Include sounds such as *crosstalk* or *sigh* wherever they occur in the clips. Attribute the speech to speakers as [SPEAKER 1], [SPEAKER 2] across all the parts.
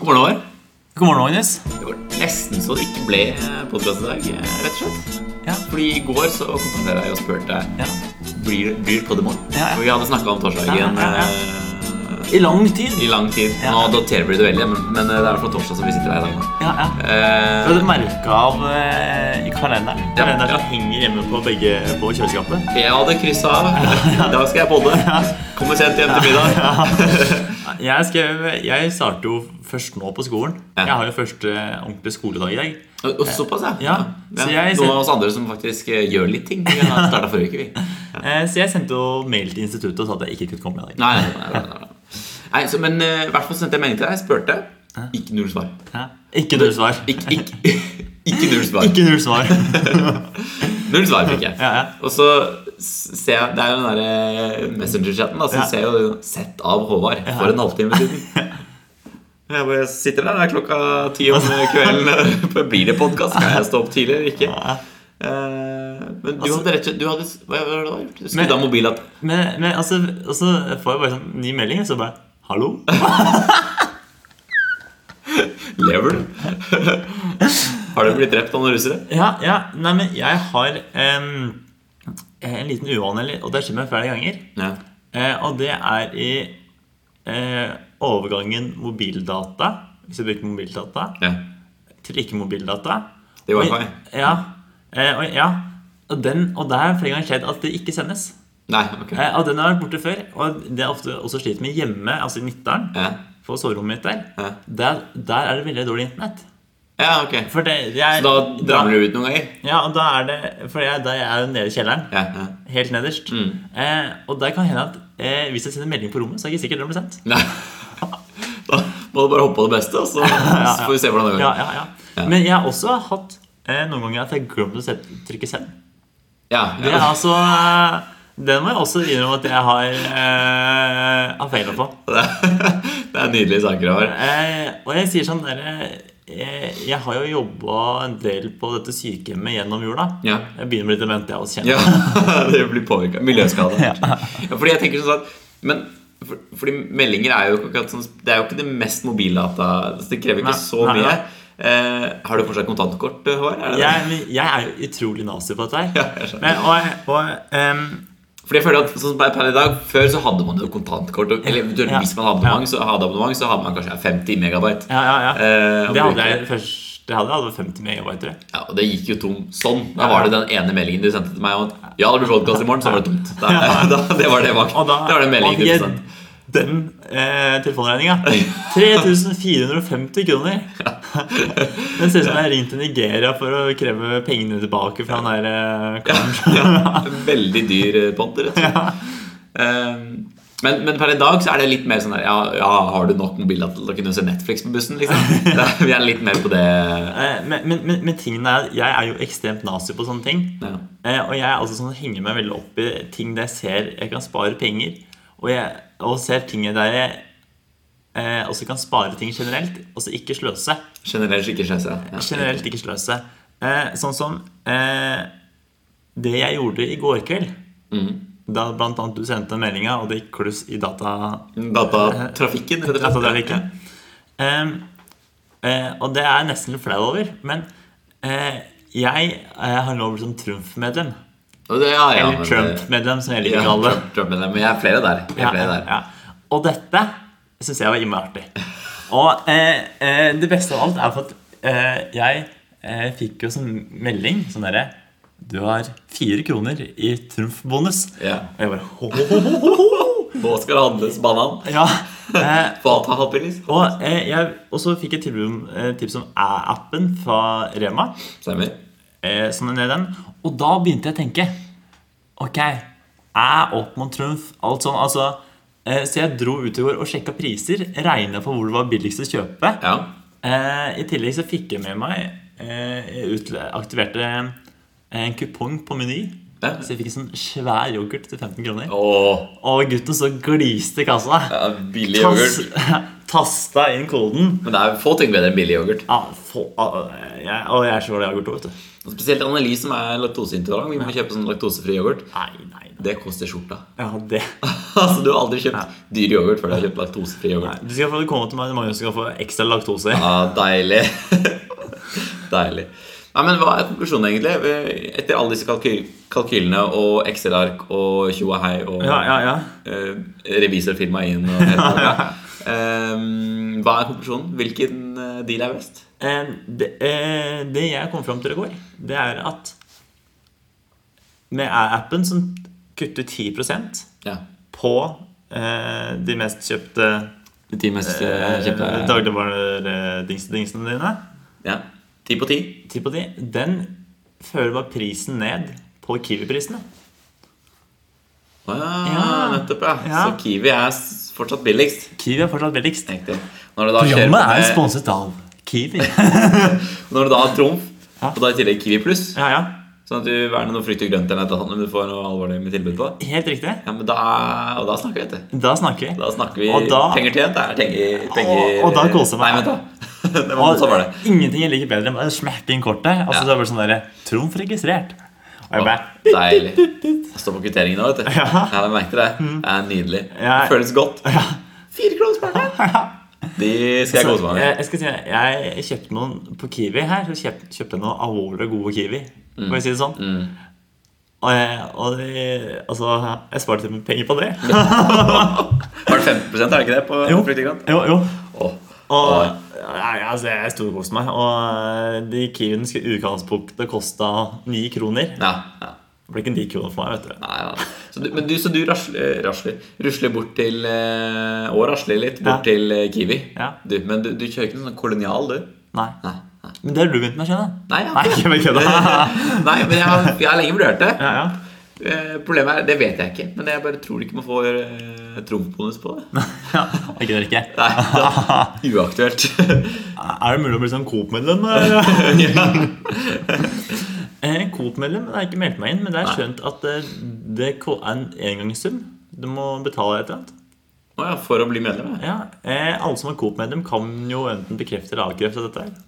[SPEAKER 1] Går det over?
[SPEAKER 2] God morgen, Magnus.
[SPEAKER 1] Det var nesten så det ikke ble podkast i dag, eh, rett og slett.
[SPEAKER 2] Ja.
[SPEAKER 1] Fordi i går så kontakterte jeg deg og spurte deg
[SPEAKER 2] Ja.
[SPEAKER 1] blir, blir på det morgen.
[SPEAKER 2] Ja, ja.
[SPEAKER 1] For vi hadde snakka om torsdagen
[SPEAKER 2] Ja, ja, ja.
[SPEAKER 1] eh,
[SPEAKER 2] I lang tid.
[SPEAKER 1] i lang tid.
[SPEAKER 2] Ja.
[SPEAKER 1] Nå daterer vi det veldig, men, men eh, det er fra torsdag som vi sitter her i dag.
[SPEAKER 2] Ja, ja. Du
[SPEAKER 1] Eh,
[SPEAKER 2] hadde merka av eh, i kalenderen.
[SPEAKER 1] Ja,
[SPEAKER 2] Kalenderen
[SPEAKER 1] ja.
[SPEAKER 2] som henger hjemme på begge på kjøleskapet.
[SPEAKER 1] jeg hadde kryssa av. *laughs* I dag skal jeg podde. Kommer sent hjem til middag.
[SPEAKER 2] Jeg, skrev, jeg starter jo først nå på skolen.
[SPEAKER 1] Ja.
[SPEAKER 2] Jeg har jo første ordentlige skoledag i dag.
[SPEAKER 1] *laughs* Og- og Såpass, ja.
[SPEAKER 2] Ja, så jeg-
[SPEAKER 1] Noen av oss andre som faktisk eh, gjør litt ting. Vi har starta forrige uke, vi.
[SPEAKER 2] Eh, Så jeg sendte jo mail til instituttet og sa at jeg ikke kunne komme i dag.
[SPEAKER 1] Nei, nei, nei, nei, nei. nei så, Men eh, i hvert fall sendte jeg melding til deg. Jeg spurte. Ikke null svar.
[SPEAKER 2] Ja. Ikke null svar.
[SPEAKER 1] Ikk- ikk- *laughs* ikke null svar.
[SPEAKER 2] Ikke null svar. *laughs*
[SPEAKER 1] Null svar fikk jeg.
[SPEAKER 2] Ja, ja.
[SPEAKER 1] Og så s- ser jeg Det er jo den derre Messenger-chatten. Altså,
[SPEAKER 2] Ja.
[SPEAKER 1] ser jeg jo 'Sett av Håvard' for en halvtime
[SPEAKER 2] *laughs*
[SPEAKER 1] siden. Jeg bare sitter der, det er klokka ti om
[SPEAKER 2] *laughs*
[SPEAKER 1] kvelden. eh, Blir det podkast? Skal jeg stå opp tidlig eller ikke? Eh, Men du hadde rett og slett Du hadde hva var det du hadde gjort? Du
[SPEAKER 2] Altså- Men-
[SPEAKER 1] skrudde av mobilen at
[SPEAKER 2] Men, men altså, og så får jeg bare sånn ny melding, og så bare Hallo?
[SPEAKER 1] Lever
[SPEAKER 2] *laughs*
[SPEAKER 1] du? Har du blitt drept av noen russere?
[SPEAKER 2] Ja, ja, nei, men jeg har em, en liten uvanlig, og det har skjedd meg flere ganger.
[SPEAKER 1] Ja.
[SPEAKER 2] Eh, og det er i eh, overgangen mobildata, hvis jeg bruker mobildata,
[SPEAKER 1] ja.
[SPEAKER 2] til ikke-mobildata.
[SPEAKER 1] Det var
[SPEAKER 2] Og-
[SPEAKER 1] feil.
[SPEAKER 2] Ja. Eh, og, ja. Og, den, og det har flere ganger skjedd at det ikke sendes.
[SPEAKER 1] Nei, ok.
[SPEAKER 2] Eh, og den har vært borte før. Og det er ofte også slitt med hjemme, altså i Nittdalen,
[SPEAKER 1] Ja,
[SPEAKER 2] på soverommet mitt der.
[SPEAKER 1] Ja.
[SPEAKER 2] Der, der er det veldig dårlig internett.
[SPEAKER 1] ja ok.
[SPEAKER 2] For det, jeg,
[SPEAKER 1] Da drammer du ut noen ganger?
[SPEAKER 2] Ja, og da er det For jeg, da jeg er jo nede i kjelleren.
[SPEAKER 1] Ja, ja.
[SPEAKER 2] Helt nederst.
[SPEAKER 1] Mm.
[SPEAKER 2] Eh, og der kan hende at eh, hvis jeg sender melding på rommet, så er det ikke sikkert den blir sendt.
[SPEAKER 1] Nei. *laughs* Da må du bare håpe på det beste, og
[SPEAKER 2] *laughs*
[SPEAKER 1] så så får vi se hvordan det går.
[SPEAKER 2] Ja, ja, ja.
[SPEAKER 1] Ja.
[SPEAKER 2] Men jeg har også hatt eh, noen ganger at jeg glemte å set- trykke send.
[SPEAKER 1] Ja,
[SPEAKER 2] Det
[SPEAKER 1] ja. *laughs*
[SPEAKER 2] er altså eh, Den må jeg også innrømme at jeg har, eh, har feila på.
[SPEAKER 1] Det er- det er nydelige saker å ha.
[SPEAKER 2] Eh, og jeg sier sånn derre jeg, jeg har jo jobba en del på dette sykehjemmet gjennom jula.
[SPEAKER 1] Ja.
[SPEAKER 2] Jeg begynner å bli dement, jeg også. kjenner jeg.
[SPEAKER 1] Ja, *laughs* det blir påvirka. Miljøskade. Ja, fordi jeg tenker sånn at Men for, fordi meldinger er jo ikke akkurat sånn Det er jo ikke det mest mobildata så Det krever ikke
[SPEAKER 2] Nei,
[SPEAKER 1] så
[SPEAKER 2] nei,
[SPEAKER 1] mye.
[SPEAKER 2] nei.
[SPEAKER 1] Eh, har du fortsatt kontantkort, Håvard? Er det det?
[SPEAKER 2] jeg, men jeg er jo utrolig nazi på dette her.
[SPEAKER 1] Ja, jeg skjønner.
[SPEAKER 2] men, og, og, ehm,
[SPEAKER 1] Fordi jeg føler at sånn som per i dag Før så hadde man jo kontantkort. og- Eller eventuelt
[SPEAKER 2] Ja.
[SPEAKER 1] hvis man hadde abonnement, så hadde, abonnement, så hadde man kanskje 50 megabyte.
[SPEAKER 2] ja, ja, ja.
[SPEAKER 1] Eh, og
[SPEAKER 2] det hadde
[SPEAKER 1] bruker-
[SPEAKER 2] jeg først Det hadde jeg hadde 50 megabyte, tror jeg.
[SPEAKER 1] Ja, og det gikk jo tom sånn. Da var det den ene meldingen du sendte til meg om at ja, det blir podcast i morgen, så var det
[SPEAKER 2] *laughs*
[SPEAKER 1] tomt. Da, *laughs* da, det var det bak.
[SPEAKER 2] Og da
[SPEAKER 1] det var den meldingen du
[SPEAKER 2] jeg-
[SPEAKER 1] sendte.
[SPEAKER 2] Den eh, telefonregninga.
[SPEAKER 1] *laughs*
[SPEAKER 2] 3450 kroner. Den ser ut som jeg har ringt til Nigeria for å kreve pengene tilbake fra den der eh, karen.
[SPEAKER 1] Ja, veldig dyr eh, pott, rett og slett. Ehm, men, men per i dag så er det litt mer sånn der Ja, ja har du nok mobil til å kunne se Netflix på bussen, liksom?
[SPEAKER 2] *laughs*
[SPEAKER 1] Det, vi er litt mer på det.
[SPEAKER 2] *laughs* Eh, Men, men, men, men tingen er at jeg er jo ekstremt nazi på sånne ting.
[SPEAKER 1] Ja.
[SPEAKER 2] Eh, og jeg er altså sånn, henger meg veldig opp i ting der jeg ser jeg kan spare penger. Og, jeg, og ser ting der jeg eh, også kan spare ting generelt. Altså ikke sløse.
[SPEAKER 1] Generelt ikke skjønse. Ja.
[SPEAKER 2] Generelt ikke sløse. Eh, sånn som eh, det jeg gjorde i går kveld.
[SPEAKER 1] Mm.
[SPEAKER 2] Da blant annet du sendte den meldinga, og det gikk kluss i data
[SPEAKER 1] Mm.
[SPEAKER 2] *laughs*
[SPEAKER 1] Datatrafikken. rett og slett.
[SPEAKER 2] at det er ikke. Ehm, eh, og det er jeg nesten litt flau over, men eh, jeg eh, har nå blitt sånn Trumf-medlem.
[SPEAKER 1] Og det- Ja, ja,
[SPEAKER 2] Eller
[SPEAKER 1] men- eh,
[SPEAKER 2] Trump-medlem, som jeg liker
[SPEAKER 1] Ja,
[SPEAKER 2] å kalle det.
[SPEAKER 1] Trump, Trump, men jeg er flere der. Jeg er flere der.
[SPEAKER 2] Ja, ja. Og dette syns jeg var innmari artig. Og eh, eh, det beste av alt er for at eh, jeg eh, fikk jo sånn melding sånn derre Du har fire kroner i trumfbonus.
[SPEAKER 1] Ja.
[SPEAKER 2] Og jeg bare ho, ho, ho, ho, ho.
[SPEAKER 1] Nå skal det handles banan.
[SPEAKER 2] Ja. Eh,
[SPEAKER 1] Få alt har hatt billigst.
[SPEAKER 2] Og, eh, jeg, og så fikk jeg tilbud om eh, tips om æ-appen fra Rema.
[SPEAKER 1] Stemmer.
[SPEAKER 2] Eh, sånn ned den. Og da begynte jeg å tenke. Ok, æ opp mot trumf, alt sånn. Altså, eh, så jeg dro ut i går og sjekka priser. Regna på hvor det var billigst å kjøpe.
[SPEAKER 1] Ja.
[SPEAKER 2] Eh, I tillegg så fikk jeg med meg eh, jeg utle- Aktiverte en kupong på Meny.
[SPEAKER 1] Ja.
[SPEAKER 2] Så jeg fikk en sånn svær yoghurt til 15 kroner.
[SPEAKER 1] Åh,
[SPEAKER 2] Og gutten så gliste i kassa.
[SPEAKER 1] ja, billig
[SPEAKER 2] Tas,
[SPEAKER 1] yoghurt.
[SPEAKER 2] *laughs* tasta inn koden.
[SPEAKER 1] Men det er få ting bedre enn billig yoghurt.
[SPEAKER 2] Ja, få- ah, jeg, og jeg er så glad i yoghurt òg, vet du.
[SPEAKER 1] Og Spesielt Anneli som er laktoseintolerant. Vi må kjøpe sånn laktosefri yoghurt.
[SPEAKER 2] Nei, nei,
[SPEAKER 1] Det koster skjorta. *laughs*
[SPEAKER 2] Ja, det.
[SPEAKER 1] altså, du har aldri kjøpt dyr yoghurt før du har kjøpt laktosefri
[SPEAKER 2] Nei,
[SPEAKER 1] yoghurt.
[SPEAKER 2] du skal få komme til meg i morgen og skal få ekstra laktose.
[SPEAKER 1] Ja, Ah, deilig. *laughs* deilig. Nei, men Hva er konklusjonen, egentlig? Eh, Etter alle disse kalky kalkylene og Excel-ark og tjo og hei og
[SPEAKER 2] *laughs* Ja, ja, ja.
[SPEAKER 1] eh, revisorfirma inn og
[SPEAKER 2] *laughs*
[SPEAKER 1] hele pakka. Ehm, Hva er konklusjonen? Hvilken eh, deal er best?
[SPEAKER 2] Eh, det, eh, det jeg kom fram til i går, det er at med appen som kutter 10
[SPEAKER 1] Ja.
[SPEAKER 2] på eh, de mest kjøpte
[SPEAKER 1] De ti mest eh,
[SPEAKER 2] eh,
[SPEAKER 1] kjøpte
[SPEAKER 2] dagligvaredingsene dine,
[SPEAKER 1] Ja. Ti på ti?
[SPEAKER 2] 10 på 10, den fører bare prisen ned på Kiwi-prisene.
[SPEAKER 1] Å ja,
[SPEAKER 2] Ja.
[SPEAKER 1] nettopp, ja.
[SPEAKER 2] Ja.
[SPEAKER 1] Så Kiwi er s- fortsatt billigst. Kiwi
[SPEAKER 2] er fortsatt billigst.
[SPEAKER 1] Riktig. Når du da kjører på med-
[SPEAKER 2] sponset av Kiwi.
[SPEAKER 1] Når du da har trumf,
[SPEAKER 2] Ja.
[SPEAKER 1] og da i tillegg Kiwi pluss,
[SPEAKER 2] ja, ja.
[SPEAKER 1] sånn at du verner noe frukt og grønt eller noe annet, men du får noe alvorlig med tilbud på,
[SPEAKER 2] Helt riktig.
[SPEAKER 1] ja, men da, og da snakker vi, vet du.
[SPEAKER 2] Da snakker vi.
[SPEAKER 1] Da snakker vi
[SPEAKER 2] Og da-
[SPEAKER 1] penger tjent. Det er penger, penger
[SPEAKER 2] Og- og da koser jeg meg.
[SPEAKER 1] Nei, vent, da. *laughs* det var, sånn var det.
[SPEAKER 2] eh, Ingenting jeg liker bedre enn å smekke inn kortet. Altså,
[SPEAKER 1] Ja.
[SPEAKER 2] det er bare sånn der, Trumf registrert. Og jeg bare
[SPEAKER 1] Deilig. Jeg står på kvitteringen nå, vet du. Ja. Jeg merket det. Det er nydelig. Det
[SPEAKER 2] Mm. Ja.
[SPEAKER 1] føles godt. Fire kroner sparket! De skal jeg kose meg med.
[SPEAKER 2] jeg, jeg skal si deg, jeg kjøpte noen på Kiwi her. Så kjøp, kjøpte jeg noen alvorlig gode Kiwi.
[SPEAKER 1] Mm.
[SPEAKER 2] Får jeg si det sånn? Og, jeg, og det, altså, jeg sparte til og med penger på det.
[SPEAKER 1] *laughs* Var det 15 er det ikke det? på
[SPEAKER 2] Jo.
[SPEAKER 1] frukt og grønt?
[SPEAKER 2] *laughs* jo, jo.
[SPEAKER 1] Åh.
[SPEAKER 2] Og
[SPEAKER 1] Åh.
[SPEAKER 2] nei, altså, jeg storkoste meg. Og de Kiwiene skulle i utgangspunktet kosta ni kroner.
[SPEAKER 1] Ja, ja.
[SPEAKER 2] Det ble ikke ni kroner for meg, vet du.
[SPEAKER 1] Nei, ja. Så du, men du, så du rasler, rasler, rusler bort til eh, Og rasler litt bort
[SPEAKER 2] Ja.
[SPEAKER 1] til eh, Kiwi.
[SPEAKER 2] Ja.
[SPEAKER 1] Du, men du, du kjører ikke noe sånn kolonial, du?
[SPEAKER 2] Nei.
[SPEAKER 1] Nei. Nei,
[SPEAKER 2] Men det har du begynt med å skjønne.
[SPEAKER 1] Nei, jeg
[SPEAKER 2] Nei,
[SPEAKER 1] har ikke det.
[SPEAKER 2] ikke
[SPEAKER 1] *laughs*
[SPEAKER 2] kødda.
[SPEAKER 1] Nei men jeg har, jeg har lenge vurdert det.
[SPEAKER 2] Ja, ja.
[SPEAKER 1] Eh, Problemet er, Det vet jeg ikke, men jeg bare tror ikke man får uh, trumfbonus på det.
[SPEAKER 2] *laughs* ja. Jeg gidder ikke.
[SPEAKER 1] Nei, da, *laughs* Uaktuelt.
[SPEAKER 2] Er det mulig å bli sånn Coop-medlem? eller?
[SPEAKER 1] ja.
[SPEAKER 2] Eh, Coop-medlem jeg har ikke meldt meg inn, men det er skjønt at eh, det ko- er en engangssum. Du må betale et eller annet.
[SPEAKER 1] Å ja, for å bli medlem, ja.
[SPEAKER 2] Ja, eh, Alle som er Coop-medlem, kan jo enten bekrefte eller avkrefte dette. her.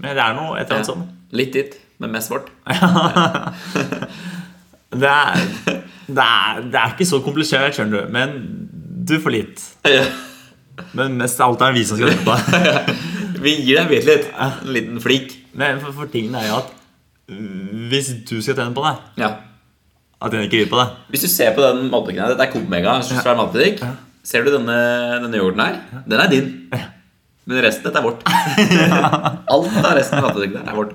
[SPEAKER 2] Men det er noe et eller annet sånn.
[SPEAKER 1] Litt dit, men mest svart.
[SPEAKER 2] Det er, det, er, det er ikke så komplisert, skjønner du. Men du får litt.
[SPEAKER 1] Ja.
[SPEAKER 2] Men mest av alt er det vi som skal hjelpe *laughs* deg.
[SPEAKER 1] Vi gir deg bitte litt. En liten flik.
[SPEAKER 2] Men for, for tingen er jo at øh, hvis du skal tjene på det,
[SPEAKER 1] Ja.
[SPEAKER 2] at jeg ikke vil på det
[SPEAKER 1] Hvis du ser på den matbutikken her, dette er Coop Mega, en svær matbutikk. Ser du denne, denne yoghurten her? Den er din. Men resten dette er vårt. Alt av resten av matbutikken der er vårt.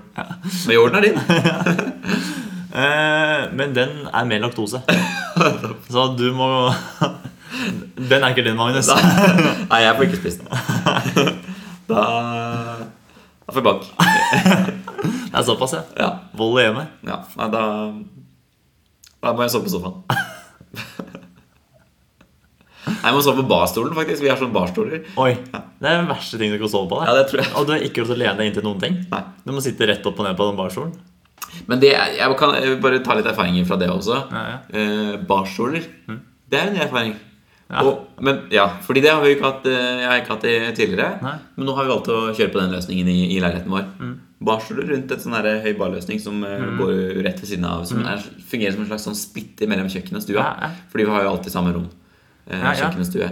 [SPEAKER 1] Men yoghurten er din.
[SPEAKER 2] eh, Men den er med laktose. Så du må Den er ikke din, Magnus.
[SPEAKER 1] Nei, jeg får ikke spist den. Da, da får jeg bank.
[SPEAKER 2] Det er såpass, ja.
[SPEAKER 1] Ja.
[SPEAKER 2] Vold i hjemmet.
[SPEAKER 1] ja. Nei, da Da må jeg sove på sofaen. Nei, jeg må sove på barstolen, faktisk. Vi har sånne barstoler.
[SPEAKER 2] Oi. Det er den verste ting du kan sove på.
[SPEAKER 1] Ja,
[SPEAKER 2] Da.
[SPEAKER 1] det tror jeg.
[SPEAKER 2] Og du er ikke lov til å lene deg inn til noen ting.
[SPEAKER 1] Nei.
[SPEAKER 2] Du må sitte rett opp og ned på den barstolen.
[SPEAKER 1] Men det, er- jeg kan jeg vil bare ta litt erfaringer fra det også.
[SPEAKER 2] Ja, ja. Mm.
[SPEAKER 1] Eh, barstoler, det er en ny erfaring.
[SPEAKER 2] Ja.
[SPEAKER 1] Og, men, ja, fordi det har vi jo ikke hatt, eh, jeg har ikke hatt det tidligere.
[SPEAKER 2] Nei. Mm.
[SPEAKER 1] Men nå har vi valgt å kjøre på den løsningen i, i leiligheten vår. Barstoler rundt et sånn her høy barløsning som eh, går rett ved siden av. Som er, fungerer som en slags sånn splitter mellom kjøkken og stua.
[SPEAKER 2] Mm. Ja, ja.
[SPEAKER 1] Fordi vi har jo alltid samme rom. Eh,
[SPEAKER 2] Ja, ja.
[SPEAKER 1] Kjøkken og stue.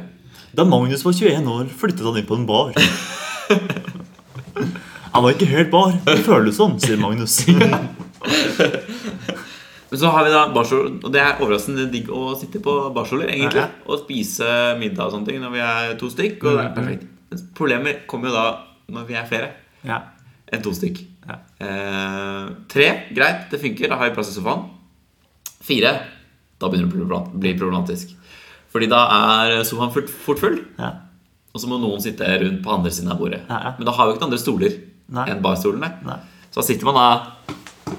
[SPEAKER 2] Da Magnus var 21 år, flyttet han inn på en bar. Han var ikke helt bar. Det føles sånn, sier
[SPEAKER 1] *laughs*
[SPEAKER 2] Magnus.
[SPEAKER 1] Men så har vi da barstol, og det er overraskende digg å sitte på barstoler, egentlig.
[SPEAKER 2] Ja, ja. Mm,
[SPEAKER 1] Og spise middag og sånne ting når vi er to stykk. Og det er perfekt. Men problemet kommer jo da når vi er flere
[SPEAKER 2] Ja.
[SPEAKER 1] enn to stykk.
[SPEAKER 2] Ja.
[SPEAKER 1] Eh, tre, greit, det funker. Da har vi plass i sofaen. Fire, da begynner det å bli problem- bli problematisk. Fordi da er sofaen fort, fort full,
[SPEAKER 2] Ja.
[SPEAKER 1] og så må noen sitte rundt på andre siden av bordet.
[SPEAKER 2] Ja, ja.
[SPEAKER 1] Men da har vi ikke noen andre stoler
[SPEAKER 2] Nei.
[SPEAKER 1] enn barstolene.
[SPEAKER 2] Nei.
[SPEAKER 1] Så da sitter man da eh,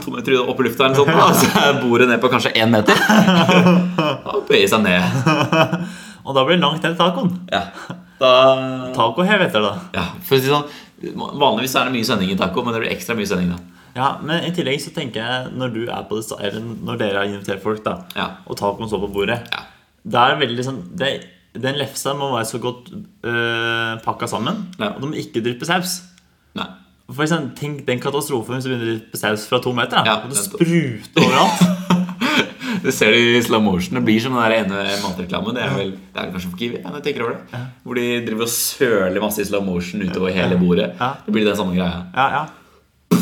[SPEAKER 1] to meter opp i lufta, eller sånn, og så er bordet ned på kanskje én
[SPEAKER 2] *laughs*
[SPEAKER 1] meter. Og bøyer seg ned.
[SPEAKER 2] Og da blir det langt til tacoen.
[SPEAKER 1] Ja. Da,
[SPEAKER 2] Tacohev heter det da.
[SPEAKER 1] ja, for å si det sånn, Vanligvis er det mye sending i taco, men det blir ekstra mye sending da.
[SPEAKER 2] Ja, men i tillegg så tenker jeg når du er på det sta- Eller når dere har invitert folk, da,
[SPEAKER 1] Ja.
[SPEAKER 2] og tacoen står på bordet
[SPEAKER 1] Ja.
[SPEAKER 2] Det er veldig sånn det, Den lefsa må være så godt øh, pakka sammen,
[SPEAKER 1] Ja.
[SPEAKER 2] og de må ikke dryppe saus.
[SPEAKER 1] Nei.
[SPEAKER 2] For eksempel, tenk den katastrofen hvis du begynner å dryppe saus fra to meter. Da,
[SPEAKER 1] Ja,
[SPEAKER 2] og det
[SPEAKER 1] *laughs* nettopp.
[SPEAKER 2] spruter overalt.
[SPEAKER 1] Du ser det i slow motion. Det blir som den der ene matreklamen. Det er vel det er vel kanskje for Kiwi. ja, når jeg tenker over det Hvor de driver og søler masse i slow motion utover hele bordet.
[SPEAKER 2] Ja.
[SPEAKER 1] Det blir den samme greia.
[SPEAKER 2] Ja, ja.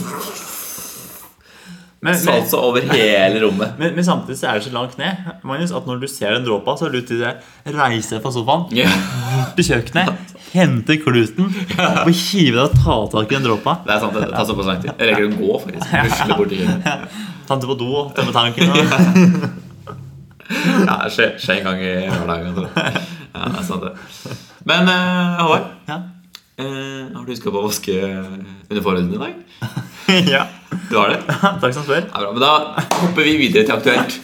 [SPEAKER 2] Men, men,
[SPEAKER 1] Salsa over hele rommet. *laughs*
[SPEAKER 2] men, men samtidig så er det så langt ned Magnus, at når du ser den dråpa, så har du lyst til å reise deg fra sofaen,
[SPEAKER 1] Ja.
[SPEAKER 2] bort til kjøkkenet, hente kluten og hive deg og ta tak i den dråpa.
[SPEAKER 1] Det er sant. Det tar såpass lang tid. Jeg rekker å gå, faktisk. Rusle bort til kjøkkenet.
[SPEAKER 2] Tante på do og tømme tanken. Og...
[SPEAKER 1] Ja, det skjer skjer en gang i hverdagen. tror jeg. Ja, det er sant, det. Men eh, Håvard,
[SPEAKER 2] Ja.
[SPEAKER 1] eh, har du huska på å vaske uniformen din i dag?
[SPEAKER 2] ja.
[SPEAKER 1] Du har det?
[SPEAKER 2] Takk som spør.
[SPEAKER 1] Ja, bra, men Da hopper vi videre til Aktuelt.